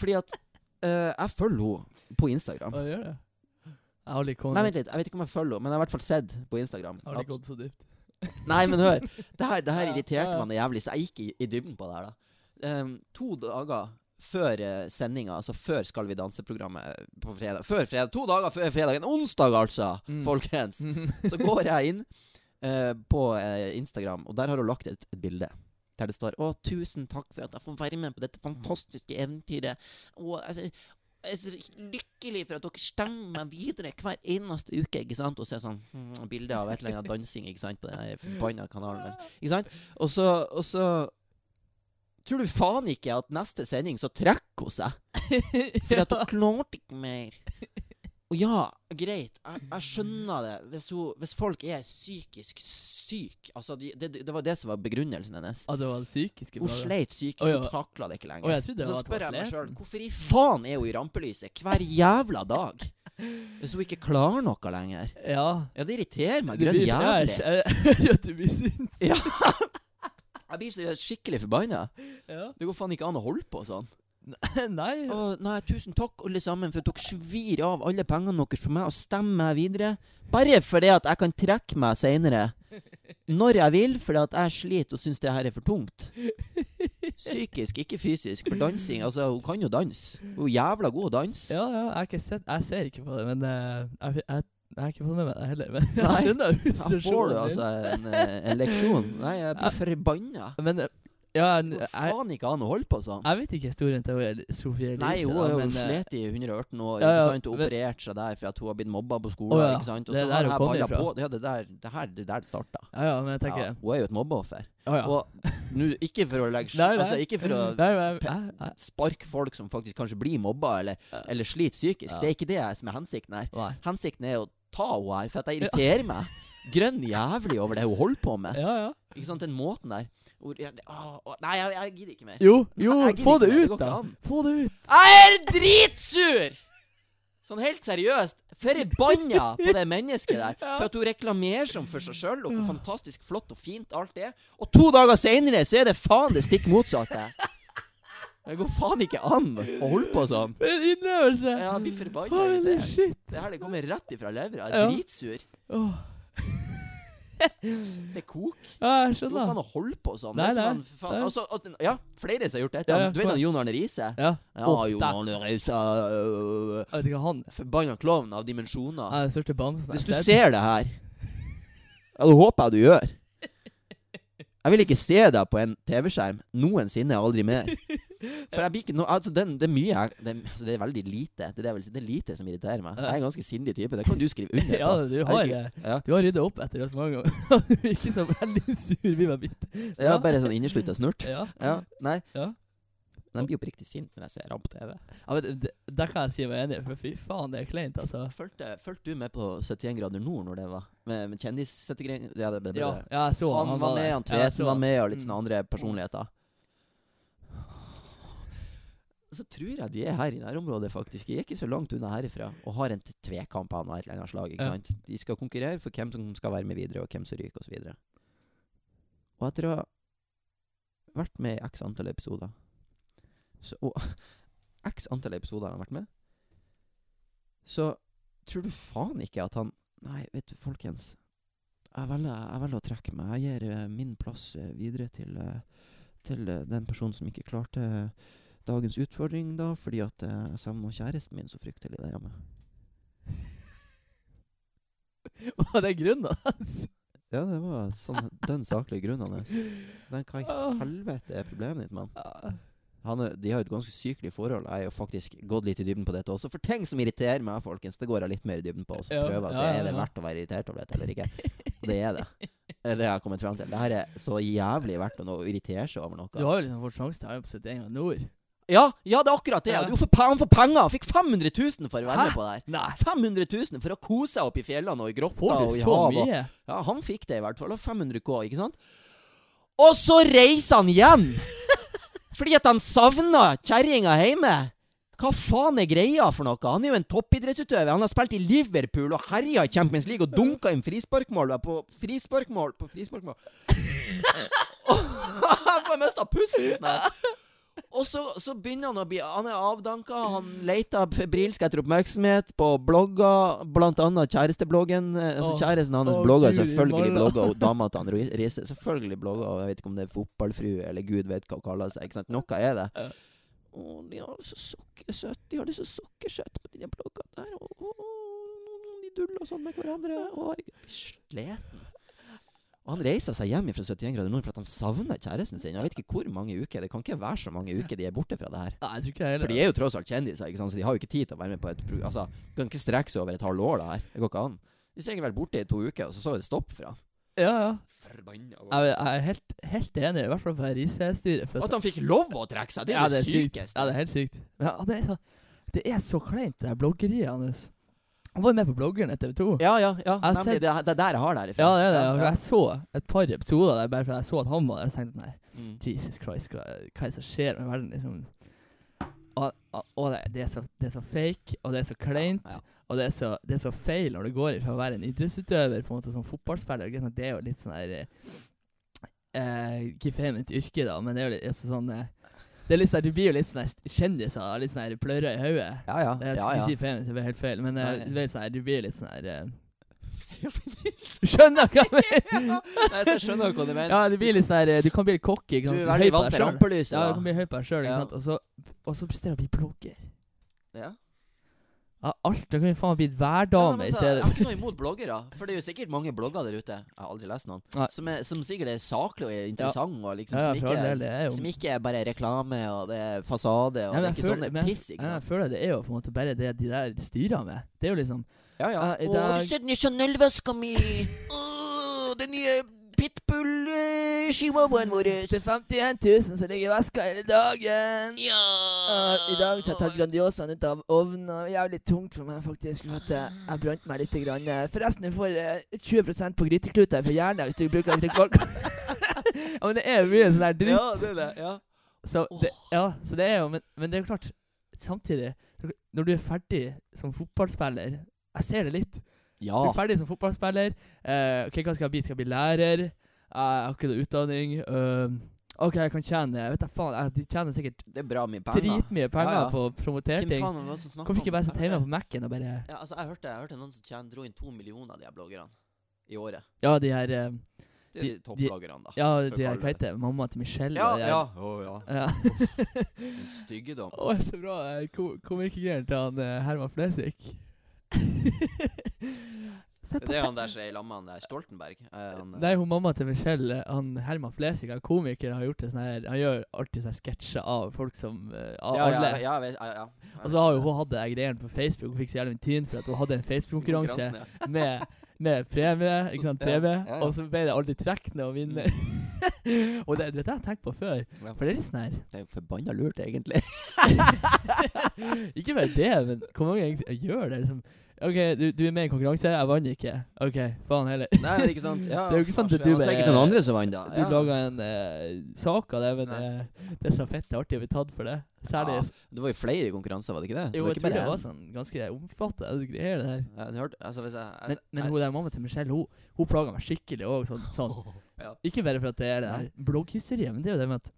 Fordi at eh, Jeg følger henne på Instagram. Hva gjør det? Jeg har aldri Nei, kommet, vent litt. Jeg vet ikke om jeg følger henne, men jeg har i hvert fall sett på Instagram. jeg har aldri at- gått så dypt. Nei, men hør. Det her, det her Ja, irriterte ja. meg noe jævlig, så jeg gikk i, i dybden på det her, da. Ehm, to dager før uh, sendinga, altså før Skal vi danse-programmet eh, på fredag Før fredag, To dager før fredag, en onsdag altså, Mm. folkens, så går jeg inn eh, på eh, Instagram, og der har hun lagt ut et bilde. Der det står 'Å, tusen takk for at jeg får være med på dette fantastiske eventyret'. Og altså, jeg er så lykkelig for at dere stemmer meg videre hver eneste uke. ikke sant? Og så er det sånn hmm, bilde av et eller annet dansing ikke sant? på den her forbanna kanalen. der. Ikke sant? Og så, og så tror du faen ikke at neste sending så trekker hun seg. For at hun klarte ikke mer. Og ja, greit, jeg, jeg skjønner det. Hvis, hun, hvis folk er psykisk syke altså de, det, det var det som var begrunnelsen hennes. Ah, det var det psykiske Hun bladet. sleit psykisk, Å, ja. hun takla det ikke lenger. Å, jeg trodde det Så var at det spør var jeg meg sjøl, sliten. hvorfor i faen er hun i rampelyset hver jævla dag? Hvis hun ikke klarer noe lenger. Ja. Ja, det irriterer meg Du grønn blir- ja, jævlig. Jeg jeg hører at du blir sint. Jeg blir så skikkelig forbanna. Ja. Det går faen ikke an å holde på sånn. Nei. Å, nei, tusen takk alle sammen for at dere svir av alle pengene deres for meg og stemmer meg videre. Bare fordi at jeg kan trekke meg seinere. Når jeg vil, fordi at jeg sliter og syns det her er for tungt. Psykisk, ikke fysisk. For dansing, altså, hun kan jo danse. Hun er jævla god å danse. Ja, ja, jeg, har ikke sett, jeg ser ikke på det, men eh, jeg, jeg, jeg har ikke fått med meg det heller. Men jeg Nei. skjønner Her får du frustrasjonen din. altså en, eh, en leksjon. Nei, jeg Ja. blir forbanna. Men eh, ja, n- Det går jeg, faen ikke an å holde på sånn. jeg vet ikke historien til hun El- Sofie Elise. Nei, hun da, har jo men, eh, slet i 118 år. ja, ja, ikke sant? Hun men- opererte seg der for at hun har blitt mobba på skolen. Å, ja. ikke sant? Og Det så er har der det her hun kommer ballet fra. på. Ja, det der det her, det der det starta. Ja, ja, men jeg tenker Ja, hun er jo et mobbeoffer. Å, ja. Og nå, ikke for å legge Nei, nei. Altså, ikke for å Nei, men jeg- jeg- jeg- sparke folk som faktisk kanskje blir mobba, eller, Ja. eller sliter psykisk. Ja. Det er ikke det som er hensikten her. Nei. Hensikten er å ta henne her, for at jeg irriterer meg. Grønn jævlig over det hun holder på med. Ja, ja. Ikke sant, Den måten der. Hvor, jeg, å, å, nei, jeg, jeg gidder ikke mer. Jo, jo, Nei, jeg gidder få ikke det mer, det ut, går ikke da. an. Få det ut. Jeg er dritsur! Sånn helt seriøst. Forbanna på det mennesket der. For at hun reklamerer som for seg sjøl, og hvor fantastisk flott og fint alt er. Og to dager seinere så er det faen det stikk motsatte. Det går faen ikke an å holde på sånn. For en innlevelse. Ja, Jeg blir forbanna. Holy irritert. shit. Det her det kommer rett ifra levra. Jeg Ja. er dritsur. Åh. Det koker. Ja, jeg Det går ikke skjønner. an å holde på sånn. Nei, Det er som nei. han, faen, Nei. altså, at, ja, flere som har gjort det. Ja, ja, Du vet kom han Jon Arne Riise? Ja. Ja, Åh, Jon der. Arne Riise øh, Jeg vet ikke, han Forbanna klovn av dimensjoner. er den største bamsen jeg Hvis du har sett. ser det her Ja, det håper jeg du gjør. Jeg vil ikke se deg på en TV-skjerm noensinne, aldri mer. For jeg blir ikke no, altså den, Det er mye jeg det, altså det er veldig lite. Det er, det jeg vil si. det er lite som irriterer meg. Jeg er en ganske sindig type. Det kan du skrive under på. Ja, du har eh, ikke- det. Ja. Du har rydda opp etter oss mange ganger. Du virker så veldig sur. Vi var bitt. Jeg er bare sånn inneslutta snurt. Ja. Ja, nei. Ja. Men jeg blir oppriktig sint når jeg ser ham på TV. Ja, men det, det kan jeg si meg enig i, for fy faen, det er kleint, altså. Fulgte, fulgte du med på 71 grader nord når det var? Med, med kjendissettegreier? Ja, det, det, det, Ja, ja, jeg så Mm. Han, var med, der. han Ja, jeg Tveten så var han. med, og litt Mm. sånne andre personligheter. så tror jeg de er her i nærområdet, faktisk. De er ikke så langt unna herifra og har en t- tvekamp av noe et eller annet slag. Ikke Ja. sant? De skal konkurrere for hvem som skal være med videre, og hvem som ryker, osv. Og, og etter å ha vært med i x antall episoder så, Og x antall episoder han har vært med, så tror du faen ikke at han Nei, vet du, folkens. Jeg velger, jeg velger å trekke meg. Jeg gir eh, min plass eh, videre til, eh, til eh, den personen som ikke klarte eh, dagens utfordring, da, fordi at eh, jeg savner kjæresten min så fryktelig der hjemme. Var det grunnen altså? hans? Ja, det var sånn dønn saklige grunnene. Men hva i Åh. helvete er problemet ditt, mann? Ah. Han er- De har jo et ganske sykelig forhold. Jeg har jo faktisk gått litt i dybden på dette også. For ting som irriterer meg, folkens, det går jeg litt mer i dybden på. Og så Ja, prøver jeg å ja, se ja, er det ja. verdt å være irritert over dette eller ikke. Og det er det. Det er det jeg har kommet frem til. Det her er så jævlig verdt å nå irritere seg over noe. Du har jo liksom fått sjansen til å være med på 71 av nord. Ja, ja, det er akkurat det. Ja. Du får, han får penger! Han fikk 500 000 for å være Hæ? med på det her. Nei. 500 000 for å kose seg opp i fjellene og i grotta Får du og i så havet. mye? Ja, han fikk det i hvert fall. og 500 K, ikke sant? Og så reiser han hjem! Fordi at han savna kjerringa hjemme! Hva faen er greia for noe? Han er jo en toppidrettsutøver. Han har spilt i Liverpool og herja i Champions League og dunka inn frisparkmål på frisparkmål på frisparkmål. Han får mista pusten snart. Og så, så begynner han å bli Han er avdanka, han leter febrilsk etter oppmerksomhet på blogger, blant annet kjærestebloggen. eh, Altså Åh. kjæresten hans Åh, blogger Gud, selvfølgelig Marla. blogger, og dama til han Ri- Riise selvfølgelig blogger, og jeg vet ikke om det er fotballfrue eller gud vet hva hun kaller seg. Ikke sant? Noe er det. Ja. Å, de har det så sukkersøtt De har det så sukkersøtt på de der bloggene der. Og, og, og de duller og sånn med hverandre. Og herregud, sliten. Og han reiser seg hjem fra 71 grader nord for at han savner kjæresten sin. Jeg vet ikke hvor mange uker. Det kan ikke være så mange uker de er borte fra det her. Nei, jeg tror ikke det For heller. de er jo tross alt kjendiser, ikke sant? så de har jo ikke tid til å være med på et pro... Altså, de kan ikke strekke seg over et halvt år, det her. Det går ikke an. Hvis jeg har vært borte i to uker, og så så er det stopp for han. Ja, ja. Forbanna. Jeg, jeg er helt, helt enig, i hvert fall på Riise-styret. for at- At han fikk lov å trekke seg, det er Ja, det, sykt. sykeste. Ja, det er helt sykt. Men ja, det, er så, det er så kleint, det her bloggeriet hans. Han var jo med på bloggeren i TV 2. Ja, ja, ja. har Nemlig. sett- Det, er- det er der jeg har det her ifra. Ja, det er det. Ja, Jeg så et par episoder der bare fordi jeg så at han var der. Så tenkte jeg nei, Mm. Jesus Christ, hva, hva er det som skjer med verden? liksom Og, og, og det, det, er så, det er så fake, og det er så kleint, Ja, ja. og det er så, det er så feil når du går fra å være en idrettsutøver på en måte som fotballspiller. ikke sant? Det er jo litt sånn der eh, eh, Ikke feminint yrke, da, men det er jo litt altså, sånn eh, det er litt sånn, Du blir jo litt sånn der kjendiser, da, litt sånn der plører i hodet. Ja, ja. Jeg skulle ja, ja. ikke si feminint, det ble helt feil, men eh, Nei. det blir sånn her, du blir litt sånn her eh, Skjønner hva jeg mener? Nei, så jeg skjønner hva du mener. Ja, det blir litt sånn her, eh, Du kan bli litt cocky. ikke Du sant? er Du høy veldig på vant deg til selv. rampelyset. Ja, da. du kan bli høy på deg sjøl, Ja. ikke sant. Og så, og så presterer jeg å bli blogger. Ja. Ja, alt. Da kan vi faen bli Ja, værdame men i altså, Jeg stedet. har ikke noe imot bloggere, for det er jo sikkert mange blogger der ute Jeg har aldri lest noen Nei. som, er, som sikkert er saklige og er interessante, og liksom, Ja, ja, som, for all del, ikke, det er jo som ikke er bare reklame og det er fasade og Nei, men det er jeg ikke føler- sånne men jeg- piss. ikke ja, Jeg sant? føler det er jo på en måte bare det de der styrer med. Det er jo liksom Ja, ja. ja, i dag- du sett den nye Chanel-veska mi! Åh, den nye pitbull-chihuahuaen vår! Det er 51 000 som ligger i veska hele dagen. Ja! Eh, I dag har jeg tatt Grandiosaen ut av ovnen. og Jævlig tungt for meg, faktisk. For at jeg, jeg brant meg litt. Grann. Forresten, du får eh, 20 på grytekluter fra Jernia hvis du bruker elektrokolk. ja, men det er jo mye sånn der dritt. Ja, det er det. Ja. Så det, ja, så det er jo men, men det er jo klart, samtidig Når du er ferdig som fotballspiller Jeg ser det litt. ja. Du er ferdig som fotballspiller. eh, ok, Hva skal jeg bli? Skal jeg bli lærer? Eh, jeg har ikke noe utdanning. øhm, OK, jeg kan tjene Vet da faen, jeg, de tjener sikkert Det er bra mye penger. dritmye penger Ja, ja. på å promotere Hvem ting. faen var det som snakket Hvorfor ikke om bare det? sitte hjemme på Mac-en og bare Ja, altså, jeg hørte, jeg hørte noen som tjener, dro inn to millioner av de her bloggerne i året. Ja, de her eh, Det er de, toppbloggerne, da. Ja, de her, For kaller hva det. heter det? Mamma til Michelle? Ja, og de her- ja. Å, ja. ja. En styggedom. Å, så bra. eh, ko- Komikergreier til han eh, Herman Flesvig. Se Det på er fe- han der som er i lamma, han der Stoltenberg. Eh, Han, Nei, hun mamma til Michelle, eh, han Herman Flesvig, han komikeren, har gjort det sånn her Han gjør alltid sånne sketsjer av folk som eh, Av ja, ja, alle. ja, jeg vet- ja, ja. Jeg Og så har jo vet det. hun hatt det her greiene på Facebook og fikk så jævlig mye tyn for at hun hadde en Facebook-konkurranse Konkurransen, ja. med, med premie, ikke sant, Ja, premie, ja, Mm. ja. og så ble det aldri trekkende å vinne. og det, vet du, det har jeg tenkt på før, Ja. for det er litt sånn her Det er jo forbanna lurt, egentlig. Ikke bare det, men hvor mange egentlig gjør det? Liksom, OK, du, du er med i en konkurranse. Jeg vant ikke. OK, faen heller. Nei, det er ikke sant. Ja, Det er jo ikke sant faen, altså, at du Det var sikkert bare- noen andre som vant, da. Du laga en eh, sak av det, men Nei. eh, det er så fett artig å bli tatt for det. Særlig Ja, Det var jo flere konkurranser, var det ikke det? Jo, var jeg ikke tror bare det var en. sånn ganske omfattende greier, det her. Ja, du hørte, altså hvis jeg, jeg Men, men hun der mamma til Michelle, hun, hun plaga meg skikkelig òg. Sånn, sånn. Ja. Ikke bare for at det er det her blogghysteriet, men det er jo det med at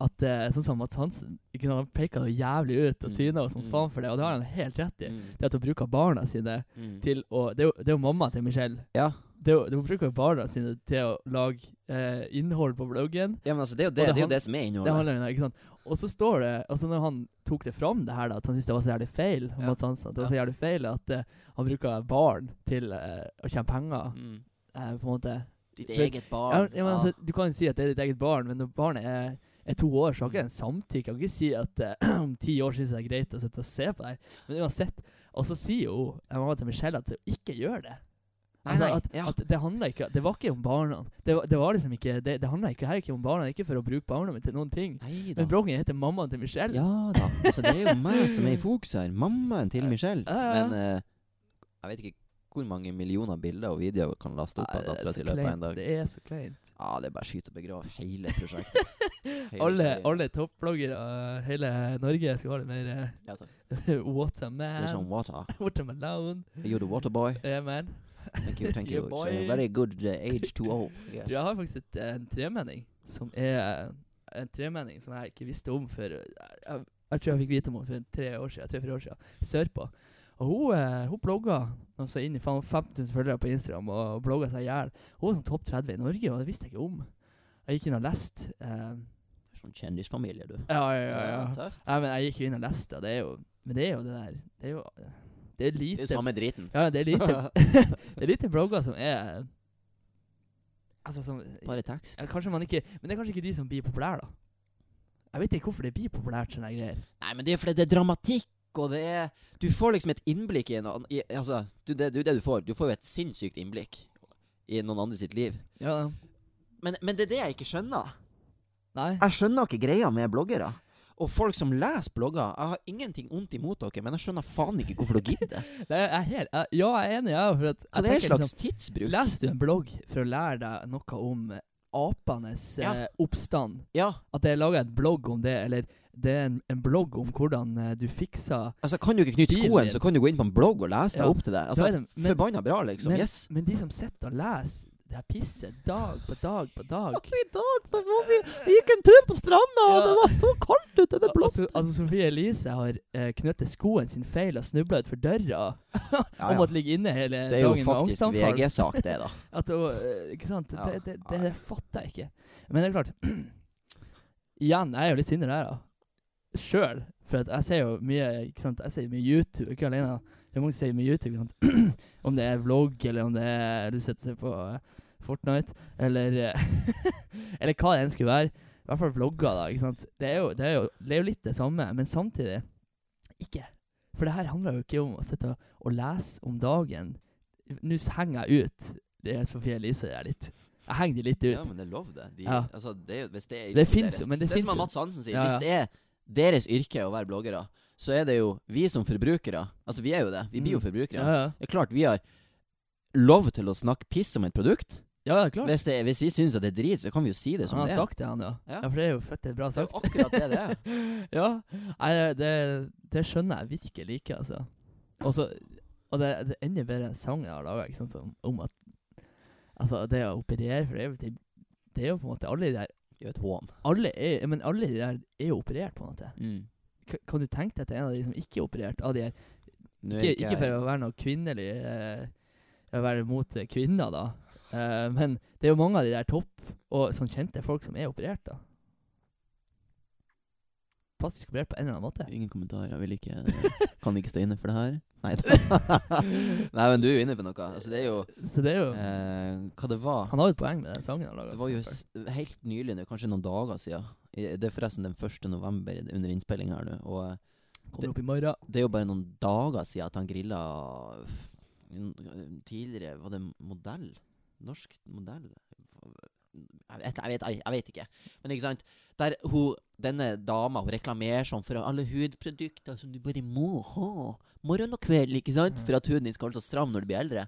at eh, Sånn som Mads Hansen ikke sant, han peker det jævlig ut, og Mm, Tina og sånn mm. faen for det, og det har han helt rett i. Mm, Det at hun bruker barna sine mm. til å Det er jo, det er jo mamma til Michelle. Ja. Det er jo, hun bruker jo barna sine til å lage eh, innhold på bloggen. ja, men altså, det er jo det det, det, han- er jo det som er Det innholdet. handler om det, ikke sant? Og så står det Altså når han tok det fram, det her da at han syntes det var så jævlig feil, Ja. Mads Hansen, at det var så jævlig feil at eh, han bruker barn til eh, å tjene penger, Mm. eh, på en måte. Ditt Du- eget Ja, barn. ja, men altså, du kan jo si at det er ditt eget barn, men når barnet er, er to år, så har ikke den samtykke. Kan ikke si at eh, om ti år syns jeg det er greit å sitte og se på det her. Men uansett. Og så sier jo eh, mamma til Michelle at hun ikke gjør det. Nei, nei, altså, at, ja. at det handla ikke Det var ikke om barna. Det var, det var liksom ikke Det, det handla ikke her ikke om barna, ikke for å bruke barna mine til noen ting. Nei da. Men bloggen heter Mammaen til Michelle. Ja da. Altså, det er jo meg som er i fokus her. Mammaen til Ja. Michelle. Ja, ja, ja. Men eh, jeg vet ikke hvor mange millioner bilder og videoer kan laste opp av Nei, det, dattera er si i så løpet av en kleint. dag. det er så kleint. Ja, det er bare skyt og begrav hele prosjektet. Hele Alle, kjærligheten. alle toppbloggere i hele Norge skal ha det mer Ja, takk. eh, What a Det er sånn man. water. What a man. You're the water boy. Yeah, man. Thank you, thank you. Yeah, It's boy. a very good uh, age to old. Yes. Jeg har faktisk et, eh, en tremenning som er eh, En tremenning som jeg ikke visste om før Jeg, jeg, jeg tror jeg fikk vite om henne for tre år siden, tre-fire år siden sørpå. Og hun, eh, hun blogga og så inn i faen 15 000 følgere på Instagram og blogga seg i hjel. Hun var sånn topp 30 i Norge, og det visste jeg ikke om. Jeg gikk inn og leste. eh, Sånn kjendisfamilie, du. ja, ja, ja, ja. tøft. Nei, men jeg gikk jo inn og leste, og det er jo Men det er jo det der Det er jo Det er Det er lite jo samme driten. Ja, det er lite Det er lite blogger som er Altså som Bare tekst. ja, kanskje man ikke Men det er kanskje ikke de som blir populære, da. Jeg vet ikke hvorfor det blir populært, sånne greier. Nei, men det er fordi det er dramatikk, og det er Du får liksom et innblikk i en annen i, Altså, du, det, det er jo det du får. Du får jo et sinnssykt innblikk i noen andre sitt liv. Ja, Men, men det er det jeg ikke skjønner. Nei. Jeg skjønner ikke greia med bloggere. Og folk som leser blogger. Jeg har ingenting vondt imot dere, men jeg skjønner faen ikke hvorfor dere gidder. Det er, jeg er helt, jeg, ja, jeg er enig, jeg. For at, jeg Hva det er en tenker liksom, slags tidsbruk? Leser du en blogg for å lære deg noe om eh, apenes Ja. eh, oppstand? Ja, At det er laga en blogg om det, eller det er en, en blogg om hvordan eh, du fikser altså Kan du ikke knytte Bilen skoen, din. så kan du gå inn på en blogg og lese deg Ja. opp til det. Altså, Da er det- men- Forbanna bra, liksom. men- Yes. Men de som sitter og leser det her pisset dag på dag på dag I dag da var vi, vi gikk en tur på stranda, Ja. var så kaldt ute, Al- altså, altså Sofie Elise har eh, knyttet skoen sin feil og snubla utfor døra. Hun måtte ligge inne hele Det er jo Eh, dagen med faktisk angstanfall. VG-sak, det, da. At hun, eh, ikke sant? Ja. Det, det, det, Nei. fatter jeg ikke. Men det er klart Igjen, jeg er jo litt synder der, da. Sjøl. For at jeg ser jo mye ikke sant? Jeg ser mye YouTube, ikke alene. Det er mange som ser mye YouTube. Ikke sant? om det er vlogg, eller om det er du setter seg på eh, Fortnite, eller eh, Eller hva det enn skulle være. I hvert fall vlogger, da. ikke sant? Det er, jo, det, er jo, det er jo litt det samme, men samtidig ikke. For det her handler jo ikke om å sitte og- og lese om dagen. Nå henger jeg ut det er Sofie Elise jeg er litt Jeg henger de litt ut. Ja, men det er lov, det. De, Ja. altså, det, er jo- hvis det, er det yrket fins deres- jo, men det, Det er finnes som han jo Mads Hansen sier. Ja, ja. Hvis det er deres yrke å være bloggere, så er det jo vi som forbrukere Altså, vi er jo det. Vi blir jo Mm. forbrukere. Ja, ja. Det er klart vi har lov til å snakke piss om et produkt. ja, ja, klart. Hvis, det, hvis vi syns at det er drit, så kan vi jo si det som han det har er. sagt det, han, ja. ja. Ja. For det er jo fette bra Det er jo sagt. akkurat det det er. ja. Nei, det, det skjønner jeg virkelig ikke, altså. Og så Og det, det er enda bedre enn sangen jeg har laga, ikke sant, som, om at Altså, det å operere For det er jo, det, det er jo på en måte alle de der Det er jo et hån. Alle er, men alle de der er jo operert, på en måte. K kan du tenke deg at det er en av de som ikke er operert, av de her Nå er ikke, ikke for jeg- å være noe kvinnelig eh, Å være mot eh, kvinner, da. Eh, men det er jo mange av de der topp og sånn kjente folk som er operert, da. Plastisk operert på en eller annen måte. Ingen kommentarer. Jeg vil ikke eh, Kan ikke stå inne for det her. Nei da. Nei, men du er jo inne på noe. Altså, det er jo Så det er jo eh, Hva det var Han har jo et poeng med den sangen han laga. Det var jo s- helt nylig, nå, kanskje noen dager siden. I- Det er forresten den 1. november i- under innspilling her nå. Og eh, Kommer opp i morgen. det er jo bare noen dager siden at han eh, grilla en- en tidligere Var det modell? Norsk modell? Jeg vet, jeg vet, jeg vet ikke. Men ikke sant? Der hun, denne dama hun reklamerer sånn for alle hudprodukter som du bare må ha morgen og kveld, ikke sant? Mm. For at huden din skal holde seg stram når du blir eldre.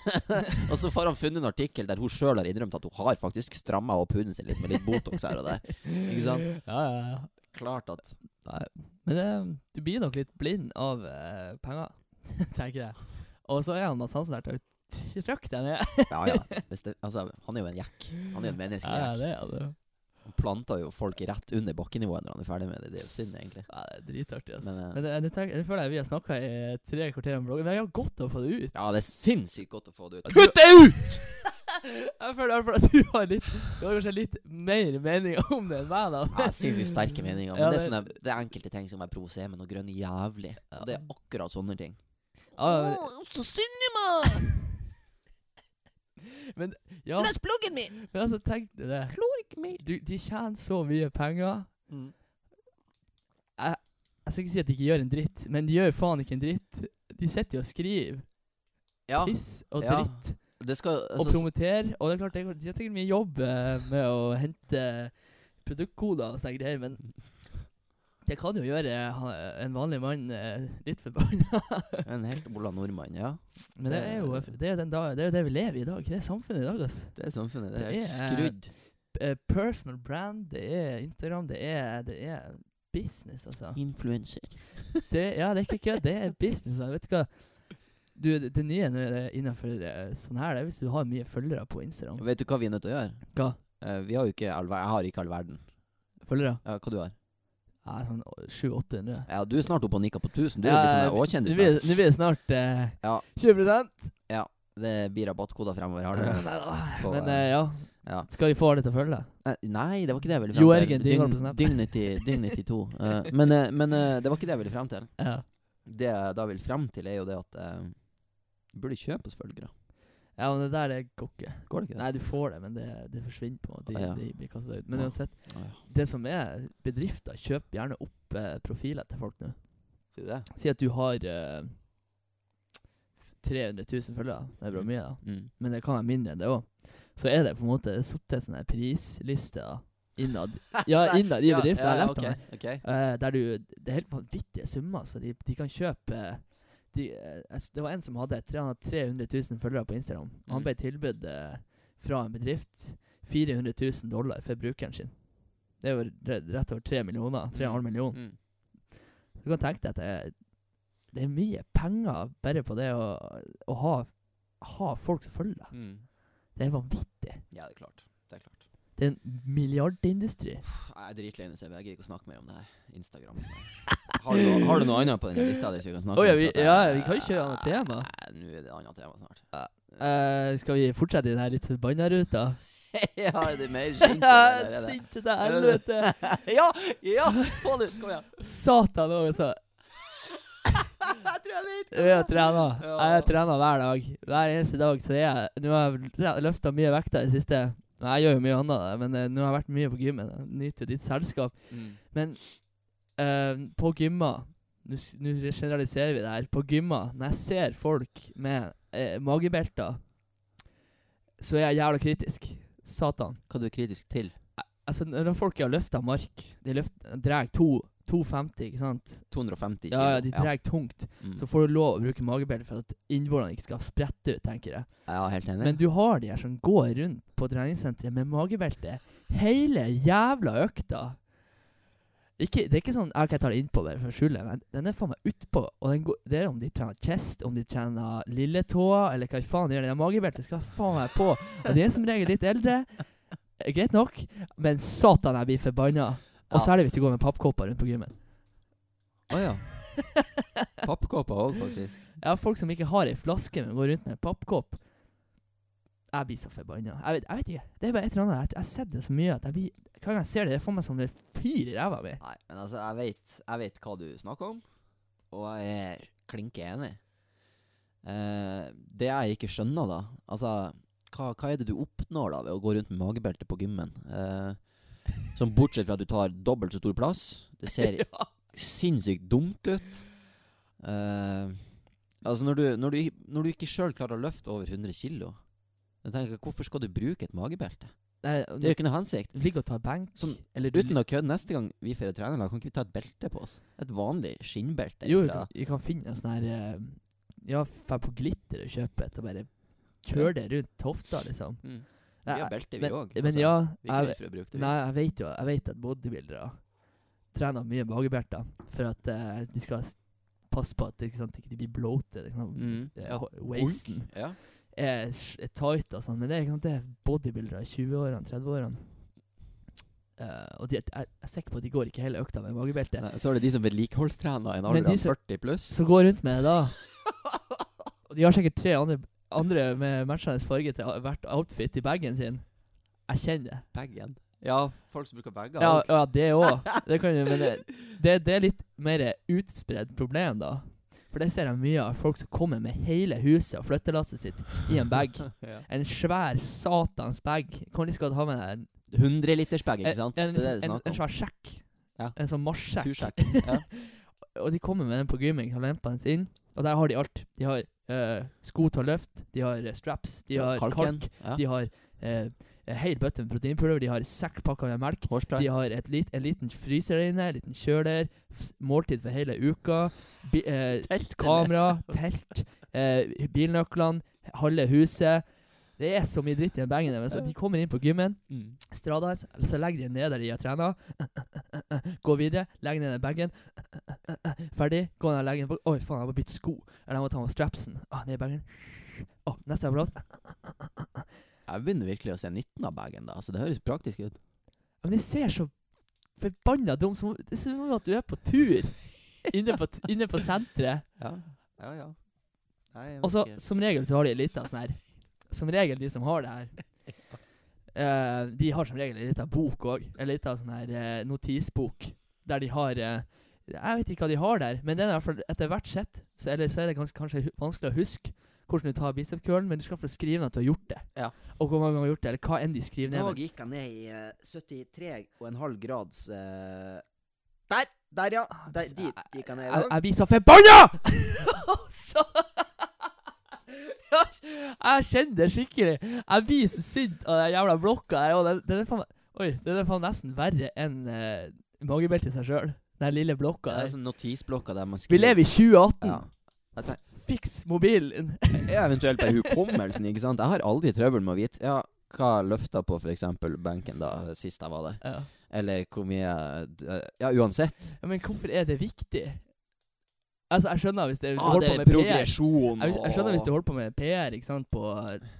og så får han funnet en artikkel der hun sjøl har innrømt at hun har faktisk stramma opp huden sin litt med litt Botox her og der. Ikke sant? Ja, ja, ja. Klart at Men det, du blir nok litt blind av eh, penger, tenker jeg. Og så er han Mads Hansen der til å trykke deg ned. Ja, ja. Hvis det, altså, han er jo en jekk. Han er jo en menneske. Ja, ja, jekk. det er det. Han planter jo folk rett under bakkenivået når han er ferdig med det. Det er jo synd, egentlig. Ja, det er dritartig, ass. Men, Men, eh, det, nå tenker- nå føler jeg vi har snakka i eh, tre kvarter om bloggen, men jeg har godt å få det ut. Ja, det er sinnssykt godt å få det ut. Kutt det ut! Jeg føler i hvert fall at du har litt Du har kanskje litt mer mening om det enn meg, da. Ja, altså, sinnssykt sterke meninger. Men Ja, det, er det- sånne, det er enkelte ting som jeg provoserer med noe grønn jævlig. Og det er akkurat sånne ting. Ja, Åh, så synd i meg! men, ja, Les bloggen min! men altså, tenk deg det. Klor ikke mer. Du, de tjener så mye penger. Mm. Jeg skal ikke si at de ikke gjør en dritt, men de gjør jo faen ikke en dritt. De sitter jo og skriver Ja, piss og Ja. dritt. det skal og altså, promotere. Og det er klart, det er- de har sikkert mye jobb eh, med å hente produktkoder og sånne greier, men det kan jo gjøre ha- en vanlig mann eh, litt forbanna. En helt bolla nordmann, ja. men det er, jo, Eh. det, er jo den dag, det er jo det vi lever i i dag. Det er samfunnet i dag, ass. Det er samfunnet. Det er Det helt er- skrudd. Eh, Personal brand, det er Instagram, det er, det er business, altså. Influencer. Det, ja, det er ikke kødd. Det er business. da. Vet du hva? Du, det det nye nå er det innenfor eh, sånn her, det er hvis du har mye følgere på Instagram. Vet du hva vi er nødt til å gjøre? Hva? Eh, vi har jo ikke all ver- Jeg har ikke all verden. Følgere? Ja, hva du har? Ja, sånn 700-800. Ja, du er snart oppe og nikker på 1000. Du er Ja, liksom vi- òg kjendis. Nå blir det- nå blir det snart eh, Ja. 20 nå. Det blir rabattkoder fremover. Har du På, Men eh, eh, ja. ja. Skal vi få alle til å følge? Eh, Nei, det var ikke det jeg ville Jo, frem til. Ergen, de går på Snap. Dignity, Dignity 2. Eh, men eh, men eh, det var ikke det jeg ville frem til. Ja. Det jeg da vil frem til, er jo det at eh, Du burde kjøpe oss følgere. ja, men det der det går ikke. Går det ikke? Nei, du får det, men det, det forsvinner på en måte. De, Ah, ja. de blir kastet ut. Men Ah. uansett, Ah, ja. det som er bedrifter, kjøp gjerne opp eh, profiler til folk nå. Sier du det? Si at du har eh, 300 000 følgere. Det er bra mye, da. Mm. Men det kan være mindre enn det òg. Så er det på en måte satt til sånne prislister da, innad, Ja, innad i bedriften, jeg leste ok, om ok. eh, der du Det er helt vanvittige summer, så de, de kan kjøpe de, eh, jeg s- Det var en som hadde tre- han hadde 300 000 følgere på Instagram. og Han Mm. ble tilbudt eh, fra en bedrift 400 000 dollar for brukeren sin. Det er jo re- rett over 3 millioner. 3,5 millioner. Mm. Du kan tenke deg at det er, det er mye penger bare på det å, å ha, ha folk som følger deg. Mm. Det er vanvittig. Ja, det er klart. Det er klart. Det er en milliardindustri. Jeg er dritlei nå, så jeg gidder ikke å snakke mer om det her. Instagram. Har du, noe- har du noe annet på den her lista di som vi kan snakke Å, ja, om? vi- For at jeg- ja, vi kan ikke gjøre annet tema. Nei, Nå er det annet tema snart. Eh, skal vi fortsette i den her litt forbanna ruta? ja, det er mer skint enn det der, er det. Sinte til helvete! ja! Ja! Få det! Kom igjen. Satan òg, altså. Jeg tror jeg vet Vi har trena. Ja. Jeg trener hver dag. Hver eneste dag så er jeg Nå har jeg løfta mye vekter i det siste. Nei, Jeg gjør jo mye annet, men eh, nå har jeg vært mye på gymmen. Jeg Nyter jo ditt selskap. Mm. Men eh, på gymmer Nå s- nå generaliserer vi det her. På gymmer, når jeg ser folk med eh, magebelter, så er jeg jævla kritisk. Satan. Hva du er kritisk til? Altså, når folk har løfta mark De løft- drar to 250, ikke sant? 250 kilo. Ja, ja, de drar tungt. Mm. Så får du lov å bruke magebelte for at innvollene ikke skal sprette ut, tenker jeg. ja, helt enig. Men du har de her som går rundt på treningssenteret med magebelte hele jævla økta. Ikke, det er ikke sånn «Ok, 'Jeg tar det innpå bare for å skjule', men den er faen meg utpå. Og den går, det er om de trener chest, om de trener lilletå, eller hva faen de gjør. Det der magebeltet skal faen meg på. Og de er som regel litt eldre. Eh, Greit nok, men satan, jeg blir forbanna. Og Ja. særlig hvis de går med pappkopper rundt på gymmen. Å ja. Pappkåper òg, faktisk. Jeg har folk som ikke har ei flaske, men går rundt med en pappkopp. Jeg blir så forbanna. Jeg, vet- jeg vet ikke. Det er bare et eller annet. Jeg- Jeg har sett det så mye at jeg blir Hver gang jeg ser det, det får meg som det fyr i ræva mi. Nei, men altså, jeg vet, jeg vet hva du snakker om, og jeg er klinke enig. Eh, det jeg ikke skjønner, da Altså, hva, hva er det du oppnår da ved å gå rundt med magebelte på gymmen? Eh, som bortsett fra at du tar dobbelt så stor plass. Det ser Ja. sinnssykt dumt ut. Eh, altså når du, når, du, når du ikke sjøl klarer å løfte over 100 kilo da tenker jeg, Hvorfor skal du bruke et magebelte? Nei, Det er jo ikke noe hensikt. Ligg og ta benk. Sånn, eller du- Uten å kødde, neste gang vi får et trenerlag, kan ikke vi ta et belte på oss? Et vanlig skinnbelte? Jo, vi fra- kan, vi kan finne en sånn her eh, Ja, dra på Glitter og kjøpe et og bare kjøre det rundt hofta, liksom. Mm. Nei, Vi har belte, vi men- òg. Men ja, Vi er ikke jeg, redd for å bruke det. vi. nei, jeg vet jo Jeg vet at bodybuildere trener mye magebelter for at eh, de skal s- passe på at ikke sant, ikke de blir bloated. Liksom, Mm, eh, ja, ho- Waisten Ja. er, s- er tight og sånn, men det er ikke sant, det er bodybuildere i 20-årene, 30-årene. Eh, og de, jeg, jeg er sikker på at de går ikke hele økta med magebelte. Nei, så er det de som vedlikeholdstrener i en Men alder de av som- 40 pluss. som går rundt med det da. Og de har sikkert tre andre, andre med matchende farge til hvert outfit i bagen sin. Jeg kjenner det. Bagen. Ja, folk som bruker bager. Ja, og- ja det òg. Det, kan jo- men det, det, det er litt mer utspredt problem, da. For det ser jeg mye av. Folk som kommer med hele huset og flyttelasset sitt i en bag. ja. En svær satans bag. Kan de skal ha med deg en, 100-litersbag, ikke en, sant? en, det er det det en, en er snakk om. svær sjekk. Ja. En sånn marsjsjekk. Tursjekk. Ja. Og de kommer med den på gymming, har lempene sine, og der har de alt. De har eh, sko til å løfte, de har eh, straps, de har Kalken. kalk, Ja. de har eh, en hel bøtte med proteinpulver, de har sekk pakka med melk, Hårspray. de har et lit, en liten fryser der inne, en liten kjøler, f måltid for hele uka, bi, eh, Telt, liksom. kamera, eller- telt, eh, bilnøklene, halve huset. Det er så mye dritt i den bagen deres. så De kommer inn på gymmen, Mm. strada, så så legger de ned der de har trena. Gå videre, legg ned den bagen. Ferdig. Gå ned og legg den bak. Oi, faen, jeg må bytte sko. Eller jeg må ta med strapsen. Ah, ned i bagen. Å, neste apparat. Jeg begynner virkelig å se nytten av bagen, da. Så det høres praktisk ut. Men det ser så forbanna dumt ut. Det ser ut som at du er på tur inne på, t- inne på senteret. Ja, ja. ja. Nei, jeg Og så, vet ikke. som regel, så har de en liten sånn her Som regel, de som har det her eh, De har som regel en liten bok òg. En liten sånn her eh, notisbok der de har eh, Jeg vet ikke hva de har der, men den er i hvert fall etter hvert sett. Så, eller så er det ganske, kanskje hu- vanskelig å huske hvordan du tar bicepskølen, men du skal få skrive ned at du har gjort det. Ja. Og hvor mange ganger du har gjort det, eller hva enn de I skriver ned. dag men- gikk han ned i eh, 73,5 grads eh, Der! Der, ja! Ah, Der, dit gikk han ned i Jeg, dag. jeg blir så forbanna! Så- Jeg- jeg kjenner det skikkelig. Jeg blir så sint av den jævla blokka der. Og den, den er faen, oi, den er faen nesten verre enn uh, magebeltet i seg sjøl. Den lille blokka Det er der. sånn notisblokker der man skriver Vi lever i 2018. ja. Jeg tenk- Fiks mobilen. Ja, eventuelt bare hukommelsen, ikke sant? Jeg har aldri trøbbel med å vite Ja, hva jeg løfta på for eksempel benken da sist jeg var der? ja. Eller hvor mye jeg- eh, Ja, uansett. Men hvorfor er det viktig? Altså, jeg skjønner hvis det Ah, holder det på er med PR. progresjon Jeg, jeg skjønner hvis du og holder på med PR ikke sant, på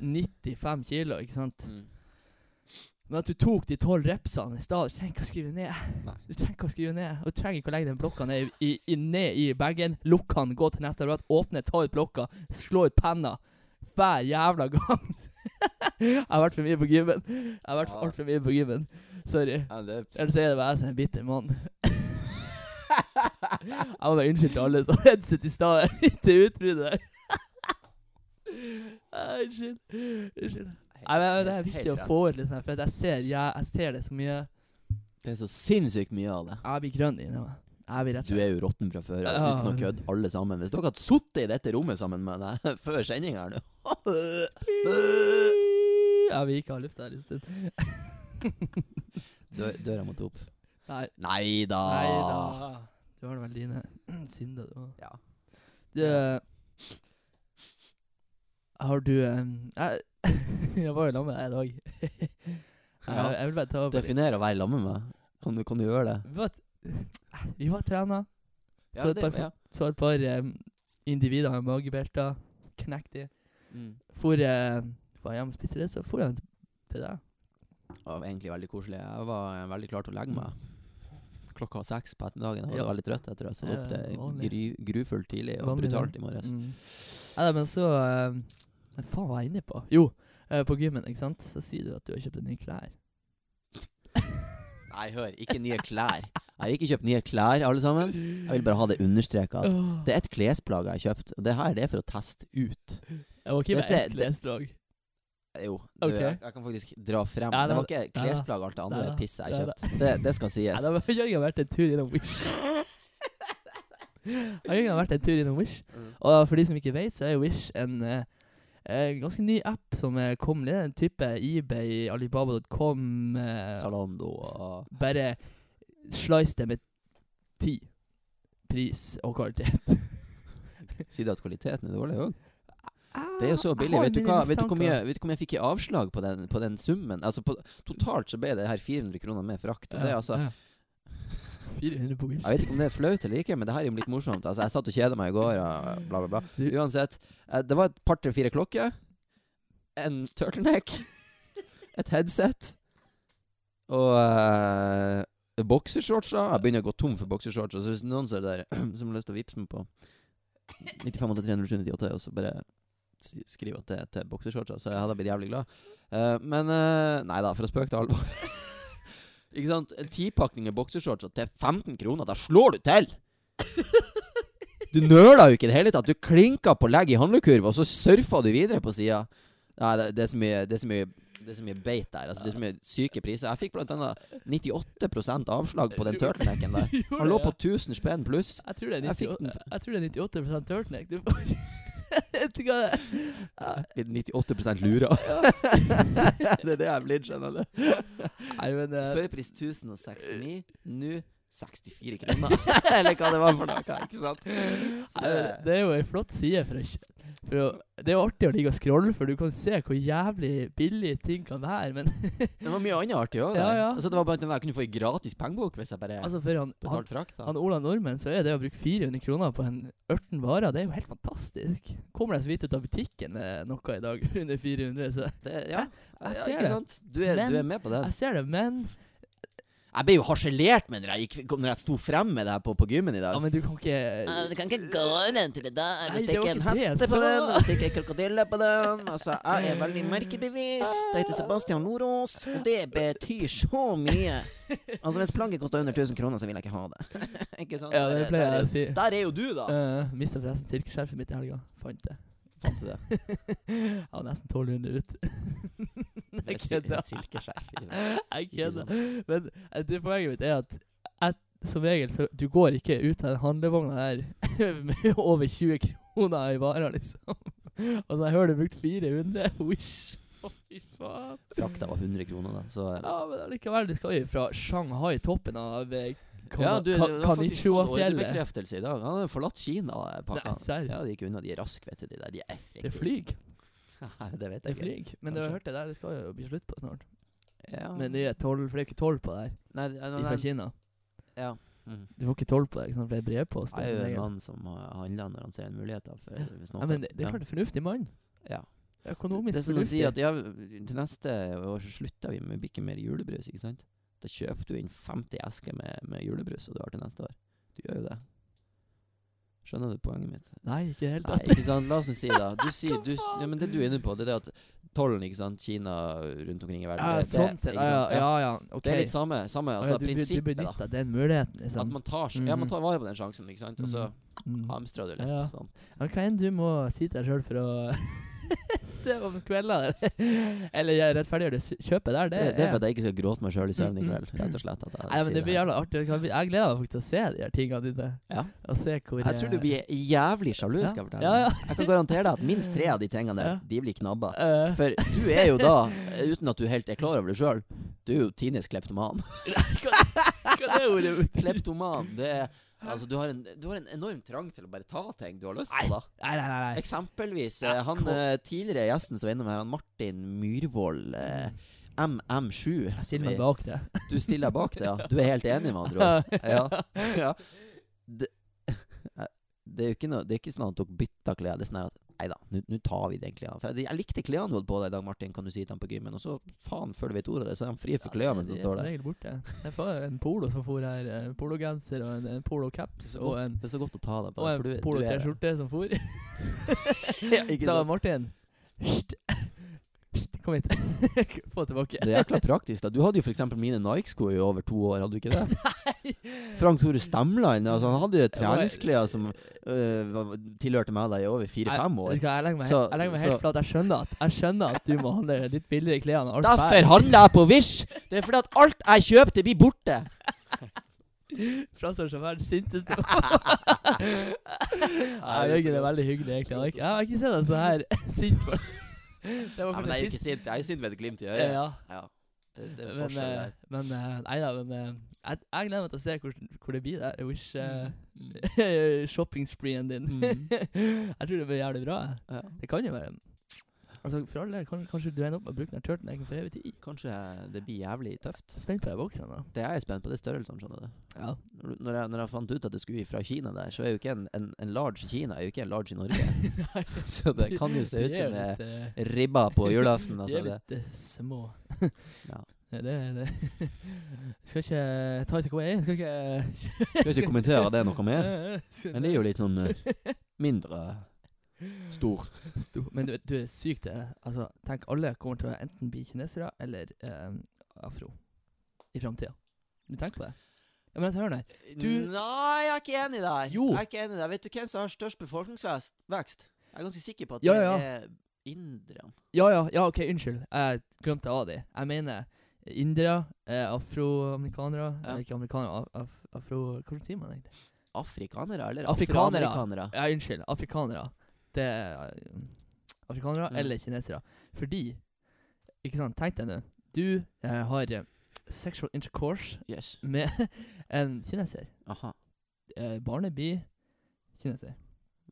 95 kilo, ikke sant. Mm. Men at du tok de tolv repsene i stad, du trenger ikke å skrive ned. Nei. Du trenger ikke å skrive ned Og du trenger ikke å legge den blokka ned i, i, ned i bagen. Lukk han, gå til neste rad, åpne, ta ut blokka, slå ut penna. Hver jævla gang. jeg har vært for mye på gymmen. Jeg har vært Ja. for altfor mye på gymmen. Sorry. Ja, det er Ellers er det bare jeg som er en bitter mann. jeg må bare unnskylde til alle som headset i stad er midt i utbruddet der. Nei, Unnskyld. Unnskyld. Nei, men Det er viktig å få ut, litt sånn, for at jeg ser, jeg, jeg ser det så mye Det er så sinnssykt mye av det. Jeg blir grønn inni meg. Jeg blir rett Du er jo råtten fra før av, Ja. uten å kødde, alle sammen. Hvis dere hadde sittet i dette rommet sammen med deg før sendinga her nå Jeg vil ikke ha lufta her en stund. Dø- Døra måtte opp. Nei. Nei Nei da. da. Du har vel dine synder, du òg. Ja. Du eh, Har du eh, Jeg, jeg var jo sammen med deg i dag. Jeg, jeg vil bare ta opp litt. Definer å være sammen med meg. Kan du, kan du gjøre det? Vi var, vi var trena. Så et par, ja. så et par eh, individer med magebelter. Knekk de. Mm. For eh, Var jeg hjemme og spiste det, så for jeg til deg. Det var egentlig veldig koselig. Jeg var eh, veldig klar til å legge meg. Klokka var seks på ettermiddagen. Jeg var Ja. veldig trøtt etter å ha stått opp. Det Eh, er vanlig. gru, grufullt tidlig og Vanlig, brutalt i morges. Mm. Neida, men så eh, Hva faen var jeg inne på? Jo, eh, på gymmen, ikke sant? Så sier du at du har kjøpt deg nye klær. Nei, hør. Ikke nye klær. Jeg har ikke kjøpt nye klær, alle sammen. Jeg vil bare ha det understreka. Åh, Det er et klesplagg jeg har kjøpt, og det her det er for å teste ut. jeg var ikke med dette- ett klesdrag. Jo, du, Ok. jeg, jeg kan faktisk dra frem. Ja, det da- var ikke da- klesplagg, alt det andre da- pisset jeg da- har kjøpt. Det, det skal Yes. Nei, sies. da Jørgen har vært en tur innom Wish. Mm. Ja, Jørgen har vært en tur innom Wish. Og for de som ikke vet, så er Wish en eh, eh, ganske ny app som eh, kom ned. En type eBay, Alibaba.com eh, Zalando og Bare slice det med ti. Pris og kvalitet. Sier du at kvaliteten er dårlig òg? Det er jo så billig. Vet du, hva, vet, du hvor mye, vet du hvor mye jeg fikk i avslag på den, på den summen? Altså på, Totalt så ble det her 400 kroner med frakt. Og det, er altså, 400 poker. jeg vet ikke om det er flaut eller ikke, men det her er jo litt morsomt. Altså, jeg satt og kjeda meg i går og bla, bla, bla. Uansett. eh, Det var et par til fire klokker. En turtleneck. Et headset. Og eh, boksershorts. da. Jeg begynner å gå tom for boksershorts. Så hvis noen ser det der som har lyst til å vippse meg på 95830798, og så bare si- skriv at det er til boksershorts, så jeg hadde blitt jævlig glad. Eh, men eh, nei da, for å spøke til alvor. Ikke sant? En tipakning med boksershorts til 15 kroner, da slår du til! Du nøla jo ikke i det hele tatt. Du klinka på legg i handlekurv, og så surfa du videre på sida. Nei, det, det, er så mye, det er så mye Det er så mye beit der. Altså, det er så mye syke priser. Jeg fikk blant annet 98 avslag på den turtlenecken der. Han lå på 1000 spenn pluss. Jeg tror det er Jeg fikk 98, den. jeg tror det er 98 turtleneck. Du får Vet du hva det er? Blitt 98 lura. det er det jeg er blitt, skjønner du. Nei, men eh, Førpris 1069, nå 64 kroner. Eller hva det var for noe. Ikke sant? Så Nei, men det, det er jo ei flott side. For å, kj- for å, det er jo artig å ligge og scrolle, for du kan se hvor jævlig billig ting kan være. Men det var mye annet artig òg. Ja, ja. altså, det var blant annet jeg kunne få ei gratis pengebok hvis jeg bare altså for han, han, betalte frakt. da. han Ola Nordmenn, så er det å bruke 400 kroner på en ørten varer, det er jo helt fantastisk. Kommer deg så vidt ut av butikken med noe i dag under 400, så Det, ja, Jeg ja, ser ikke det. sant? Du er, Men- du er med på den. jeg ser det. Men, Jeg ble jo harselert med når jeg, gikk, kom- når jeg sto frem med det her på, på gymmen i ja, dag. men du kan Eh, ikke Du kan ikke gå den til det der. Nei, Hvis det det var ikke er en ikke det jeg hest på sa. den, hvis det ikke er krokodille på den Altså, jeg er veldig merkebevisst. Jeg heter Sebastian Nordås, og det betyr så mye. Altså, hvis plagget koster under 1000 kroner, så vil jeg ikke ha det. ikke sant? Ja, det Der pleier er jeg å jo- si. Der er jo du, da. Uh, Mista forresten silkeskjerfet mitt i helga. Fant det. Fant du det? Jeg var nesten 1200 ut. Det er Jeg et sil- kødder. et silkeskjerf. ikke sant? Jeg Ikke kødder. Men eh, det poenget mitt er at jeg, som regel så du går ikke ut av den handlevogna der med over 20 kroner i varer, liksom. Og så jeg hører du har brukt 400. Wish. Å, fy faen. Frakta var 100 kroner, da. Så Ja, men allikevel, du skal jo fra Shanghai, toppen av eh, Kan- Ja, du, Kan- det var faktisk en Kanishua-fjellet. ordrebekreftelse i dag. Han har forlatt Kina, eh, pakka. Nei, serr. Ja, de gikk unna. De er raske, vet du. De der. De er effektive. Det flyg. det vet Det jeg ikke. flyg. Men du har hørt det der, det skal jo bli slutt på snart. Ja. Men det er tolv, for det er jo ikke tolv på det her. Nei, det- De er fra nei, Kina. ja. Mm. Du får ikke tolv på det, ikke sant, for det er brevpost. Jeg som er jo en regel. mann som eh, handler når han ser en mulighet. Da, for, hvis noen Ja, men det, det er ja. klart det er fornuftig mann. Ja. Økonomisk Det er som å si fornuftig. at ja, til neste år så slutter vi med ikke mer julebrus, ikke sant? Da kjøper du inn 50 esker med, med julebrus, og du har til neste år. Du gjør jo det. Skjønner du poenget mitt? Nei, ikke i det hele Nei, tatt. ikke sant? La oss nå si det. Du sier, du, s- ja, men det du er inne på, det er det at tollen, ikke sant, Kina rundt omkring i verden Ja, det- det- sånn sett. ikke Ja, sant? ja, ja, ja. Ok. Det er litt samme, samme Å, altså, ja, du, du, du prinsippet, da. benytter den muligheten, At liksom. man tar, s- ja, man Mhm. tar vare på den sjansen, ikke sant, og så Mm. hamstrer du litt. sånn. Ja. Sant? Men hva enn du må si til deg sjøl for å se om kvelden eller- eller rettferdiggjøre det s- kjøpet der, Det, det, det er er for at jeg ikke skal gråte meg sjøl i søvn i Mm, mm. kveld, rett og slett. At jeg, Nei, men sier det blir her. jævla artig. Jeg gleder meg faktisk til å se de her tingene dine. Ja. Og se hvor eh, jeg tror du blir jævlig sjalu, Ja. skal jeg fortelle. Ja, ja. deg. Jeg kan garantere deg at minst tre av de tingene der, Ja. de blir knabba. Eh, For du er jo da, uten at du helt er klar over det sjøl, du er jo tidenes kleptoman. Hva er det ordet? Nei, Kleptoman, det er Altså, du har, en, du har en enorm trang til å bare ta ting du har lyst Nei. på, da. nei, nei. nei. Eksempelvis eh, han kom. eh, tidligere gjesten som var innom her, han Martin Myrvold. eh, MM7. Jeg som stiller meg vi- bak det. Du stiller deg bak det, ja. Du er helt enig med andre ord. Ja. ja. Det, det er jo ikke, noe, det er ikke sånn at dere bytter klær. Det er sånn her at Nei da, nå nå tar vi den klærne. For jeg, jeg likte klærne du hadde på deg i dag, Martin, kan du si til han på gymmen. Og så, faen, før du vet ordet av det, så er han fri for klærne mens de han er står Som der. regel borte. Jeg får en polo som for her. En pologenser og en, en polocaps Så og godt. en, Det er så godt å ta deg på. og en for du- du er- polo-T-skjorte som for. Ja, ikke Så sant? Martin Hysj. Hysj, Kom hit. Få tilbake. Det er jækla praktisk. da Du hadde jo f.eks. mine Nike-sko i over to år, hadde du ikke det? Frank Tore Stamland altså, han hadde jo treningsklær som øh, var- tilhørte meg da i over Jeg, fire-fem vet år. du hva, jeg legger meg, Så- helt- jeg legger meg så- helt flat. Jeg skjønnner at Jeg skjønner at du må handle litt billigere klær enn alt Derfor handler jeg på Wish! Det er fordi at alt jeg kjøper, det blir borte! Framstår som verdens sinteste Nei, Jørgen er veldig hyggelig, egentlig. Han har ikke- Jeg har ikke sett deg så her sint før. Det var Nei, men jeg er kanskje jo ikke sist. sint. Jeg er jo sint ved et glimt i Ja, øyet. ja. Ja. Det, det er Men, forskjell eh, der. men eh, Nei da, men eh, jeg, jeg gleder meg til å se hvor, hvor det blir der. Wish uh, shopping-spreen din. Mm. jeg tror det blir jævlig bra. jeg. Ja. Det kan jo være Altså, for alle, kan, kanskje du ender opp med å bruke den turtlenecken for evig tid. Kanskje jeg- det blir jævlig tøft. Jeg er spent på den boksen. da. Det jeg er spent på, det er størrelsen, skjønner du. Ja. Når, du- når, jeg, når jeg fant ut at det skulle fra Kina der, så er jo ikke en, en, en large i Kina, er jo ikke en large i Norge. så det kan jo se ut som det eh, er litt, eh, ribba på julaften. Altså de er det. litt eh, små. Ja. Det, det, det. Skal ikke ta ut hva jeg er. Skal ikke Skal ikke kommentere det noe mer. Skal- Men det er jo litt sånn eh, mindre stor. Stor- Men du, vet- du er syk til altså, Tenk, alle kommer til å enten bli kinesere eller eh, afro i framtida. Du tenker på det? Ja, men hør nå. her. Du- Nei, jeg er ikke enig i deg. Jo. Jeg er ikke enig i deg. Vet du hvem som har størst befolkningsvekst? Vekst? Jeg er ganske sikker på at Ja, det ja, er inderne. Ja, ja, ja, OK, unnskyld. Jeg glemte av det. Jeg mener indere, eh, afroamerikanere Ja. eh, Ikke amerikanere, af, af, afro... Hvordan sier man egentlig? Afrikanere, eller? Afrikanere. Afroamerikanere. Ja, unnskyld. Afrikanere. Det er eh, Afrikanere Mm. eller kinesere. Fordi Ikke sant, tenk deg nå. Du eh, har eh, sexual intercourse Yes. med en kineser. Aha. eh, barnet blir kineser.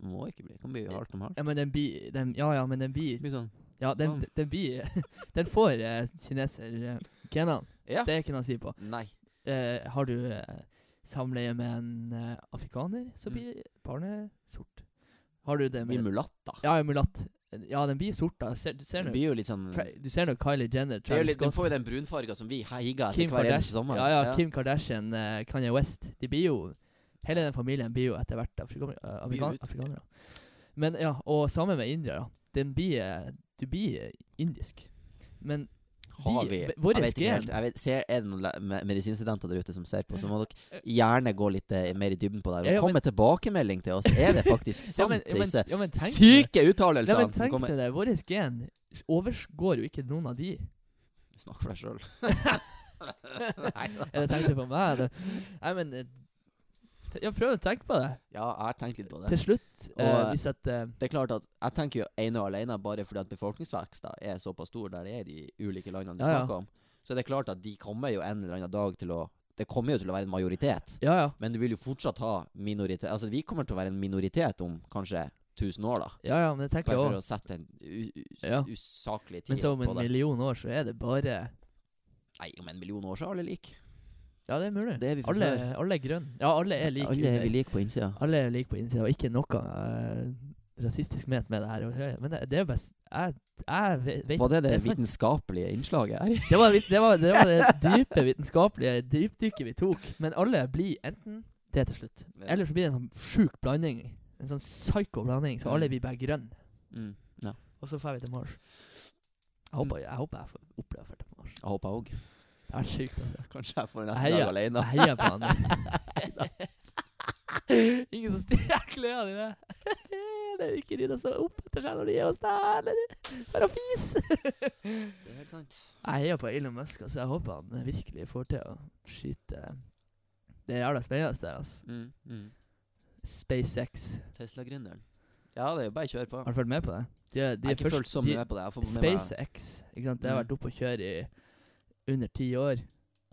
Må ikke bli. Kan bli halvt om halvt. Ja, men den blir den, Ja, ja, men den blir Blir sånn. Ja, den, Sånn. den, blir Den får eh, kineser-genene. Ja. Det er ikke noe å si på. Nei. Eh, har du eh, samleie med en eh, afrikaner, så Mm. blir barnet sort. Har du det Blir med mulatt, da. Ja, en mulatt. Ja, den blir sort, da. Ser, du ser Det nå blir jo litt sånn Ka- Du ser nå Kylie Jenner, det er jo Travis litt, Den Scott, får jo den brunfarga som vi heiger etter Kim hver eneste Kardashian, sommer. ja, ja, Kim Kardashian eh, Kanye West. De blir jo Hele den familien blir jo etter hvert afrikan, eh, Blir amerikan, ut- afrikanere. Men ja, Og sammen med indere. Den blir eh, Du blir eh, indisk. Men Har vi vi- vår Jeg vet ikke gen- helt. Jeg vet, ser, er det noen le- me- medisinstudenter der ute som ser på, så må dere gjerne gå litt eh, mer i dybden på det. her, Ja, Og ja, komme med tilbakemelding til oss. Er det ja, faktisk sant, men, ja, men, disse ja, men tenk deg- syke Ja, men uttalelsene Sånn som tenk kommer? deg det. Våre gen s- overgår jo ikke noen av de. Snakk for deg sjøl. Eller tenkte på meg. da. Nei, men eh, te- Ja, prøv å tenke på det. Ja, jeg har tenkt litt på det. Til slutt, eh, Og, eh, hvis at eh, Det er klart at Jeg tenker jo ene og alene bare fordi at befolkningsveksten er såpass stor der det er i de ulike landene du Ja, ja. snakker om. Så det er klart at de kommer jo en eller annen dag til å Det kommer jo til å være en majoritet. Ja, ja. Men du vil jo fortsatt ha minoritet Altså vi kommer til å være en minoritet om kanskje 1000 år, da. Ja, ja, men det tenker Bare jeg for òg. å sette en u u Ja. usaklig tid Men så om på en det. million år så er det bare Nei, om en million år så er alle like. Ja, det er mulig. Det er vi fra alle, før. alle er grønne. Ja, alle er like. alle er vi under- like på innsida. alle er like på innsida, og ikke noe eh, rasistisk ment med det her. og- Men det, det er jo best Jeg, jeg ve- vet Var det det er sant. vitenskapelige innslaget her? Det var, vit- det var, det var det dype vitenskapelige dypdykket vi tok. Men alle blir enten det til slutt, Ja. eller så blir det en sånn sjuk blanding. En sånn psyko blanding, så alle blir bare grønne. Mm. Og så drar vi til Mars. Jeg håper jeg, håper jeg får oppleve å dra til Mars. Jeg håper òg. Det er sjukt, altså. Kanskje jeg får en Jeg heier- ettermiddag alene. Jeg heier på han. Ingen som styrer klærne dine. Det er ikke de som er opp etter seg når de er hos deg, eller bare å fise. Det er helt sant. Jeg heier på Elon Musk, altså. Jeg håper han virkelig får til å skyte Det er jævla spennende der, altså. Mm. Mm. SpaceX. Tesla-gründeren. Ja, det er jo bare å kjøre på. Har du fulgt med på det? De, er- de jeg har er ikke følt først så de, mye med på det. Jeg får med meg- SpaceX, ikke sant. Det har Mm. vært oppe og kjøre i under ti år.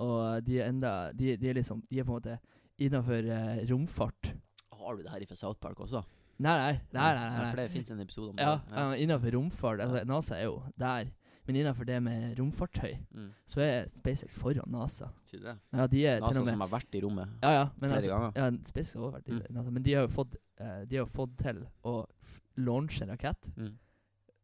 Og de er enda De, de er liksom De er på en måte innafor romfart. Har du det her fra South Park også? Nei, nei, nei. nei, Ja, nei, For nei. det fins en episode om Ja, det. ja. Innenfor romfart altså, NASA er jo der. Men innenfor det med romfartøy, Mm. så er SpaceX foran NASA. Sier du det? Ja, de er Eh, til NASA og med som har vært i rommet Ja, ja. Men flere altså, ganger. ja, SpaceX har også vært i Mm. NASA, men de har jo fått, eh, de har jo fått til å f launche en rakett. Mm.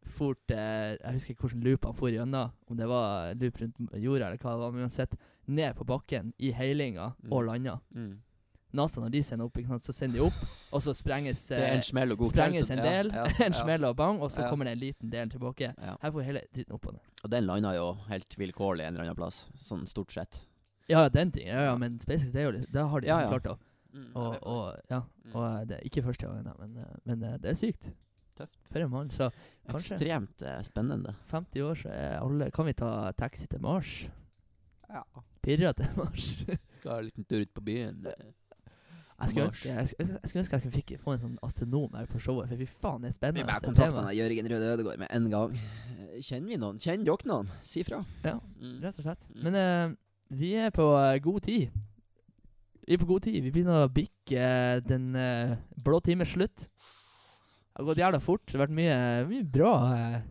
Fort eh, Jeg husker ikke hvilken loop han for gjennom, om det var loop rundt jorda eller hva det var, men uansett, ned på bakken i heilinga Mm. og landa. Mm. NASA, når de sender opp, ikke sant, så sender de opp, og så sprenges Det er eh, en smell og god sprenges en kveld, så- del, ja, ja, en ja. smell og bang, og så Ja. kommer det en liten del tilbake. Ja. Her får hele dritten opp og ned. Og den landa jo helt vilkårlig en eller annen plass, sånn stort sett. Ja, ja, den ting. Ja, ja, men SpaceX, det er jo litt Da har de Ja, liksom ja. klart å og, og, ja, Mm. og eh, det er ikke første gangen, da, men, eh, men eh, det er sykt. Tøft. For en mann. Så kanskje. Ekstremt eh, spennende. 50 år, så er alle Kan vi ta taxi til Mars? Ja. Pirra til Mars? Skal en liten tur ut på byen. eh, Jeg skulle Mars. ønske jeg, skulle- jeg, skulle ønske jeg kunne fikk få en sånn astronom her på showet, for fy faen, det er Vi spennende. bare det kontakter temaet. han Jørgen Røde Ødegård med en gang. Kjenner vi noen? Kjenner dere noen? Si fra. Ja. Mm. Rett og slett. Mm. Men eh, vi er på eh, god tid. Vi er på god tid. Vi begynner å bikke eh, den eh, blå times slutt. Det har gått jævla fort. Det har vært mye, mye bra. eh,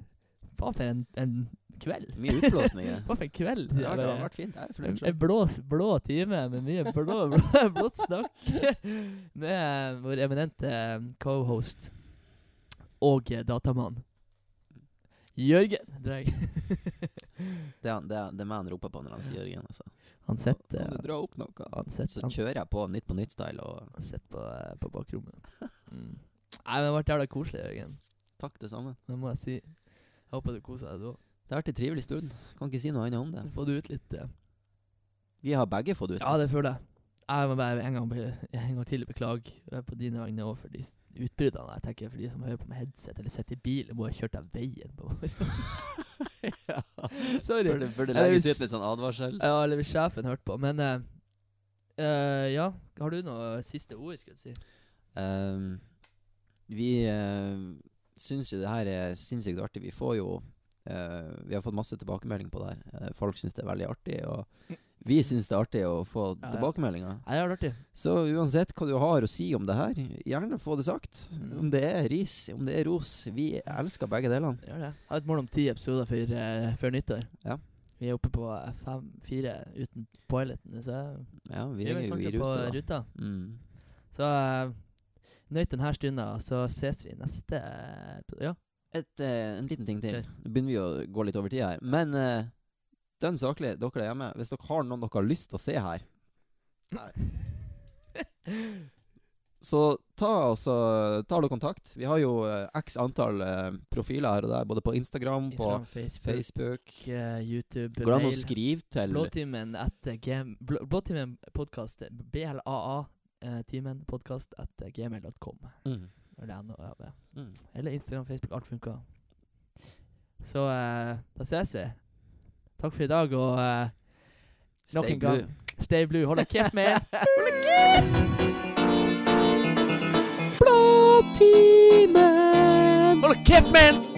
Hva for en, en kveld? Mye utblåsninger. Hva for en kveld? Det har vært- det har Bare- vært fint. Jeg er en, fornøyd en selv. blå, blå time med mye blå, blå, blått snakk med eh, vår eminente eh, co-host og eh, datamann. Jørgen Dreg. Det er han- det er det er meg han roper på når han sier Jørgen. Altså. Han Kan sitter eh, du dra opp noe? han sitter- Så kjører jeg på Nytt på Nytt-style, og Jeg har sett på, eh, på bakrommet. Mm. Nei, men det ble jævla koselig, Jørgen. takk, det samme. Det må jeg si. Jeg håper du koser deg da. Det har vært en trivelig stund. Kan ikke si noe annet om det. Får du ut litt eh, Vi har begge fått ut Ja, det føler jeg. Jeg må bare en gang, be- en gang til beklage eh, på dine vegne og for de s- utbruddene. Jeg tenker for de som hører på med headset eller sitter i bil, må ha kjørt deg veien på Ja. morgenen. Sorry. Burde, burde Eller legges hvis- ut med sånn advarsel. Ja, eller hvis sjefen hørte på. Men eh, eh, ja, har du noe siste ord, skulle jeg si? Ehm, vi uh, syns jo det her er sinnssykt artig. Vi får jo eh, Vi har fått masse tilbakemelding på det her. Eh, folk syns det er veldig artig, og vi syns det er artig å få Ja, ja. tilbakemeldinger. Nei, det har vært artig. Så uansett hva du har å si om det her, gjerne få det sagt. Mm. Om det er ris, om det er ros. Vi elsker begge delene. Gjør det. Har et mål om ti episoder før, eh, før nyttår. Ja. Vi er oppe på eh, fem, fire uten piloten, så Ja, vi vi er er vel jo i kanskje på rute, da. ruta. Mm. Så uh, nøyt denne stunda, så ses vi neste episode. Ja. Et, eh, en liten ting til. Kjør. Nå begynner vi å gå litt over tida her. Men eh, dønn saklig, dere der hjemme, hvis dere har noen dere har lyst til å se her, så ta, også, ta dere kontakt. Vi har jo eh, x antall eh, profiler her og der, både på Instagram, Instagram, på Facebook, Facebook. eh, YouTube, Går det an å mail. skrive til Blåtimen etter gm... Blå- Blåtimen podkast. BLAA. eh, Timen podkast etter gmail.com. mm. Eller noe av det. Mm. Eller Instagram, Facebook, alt funker. Så eh, da ses vi. Takk for i dag, og eh, nok Stay en gang blue. Stay blue. Hold deg kjeft med! Blåtimen! Hold deg kjeft med!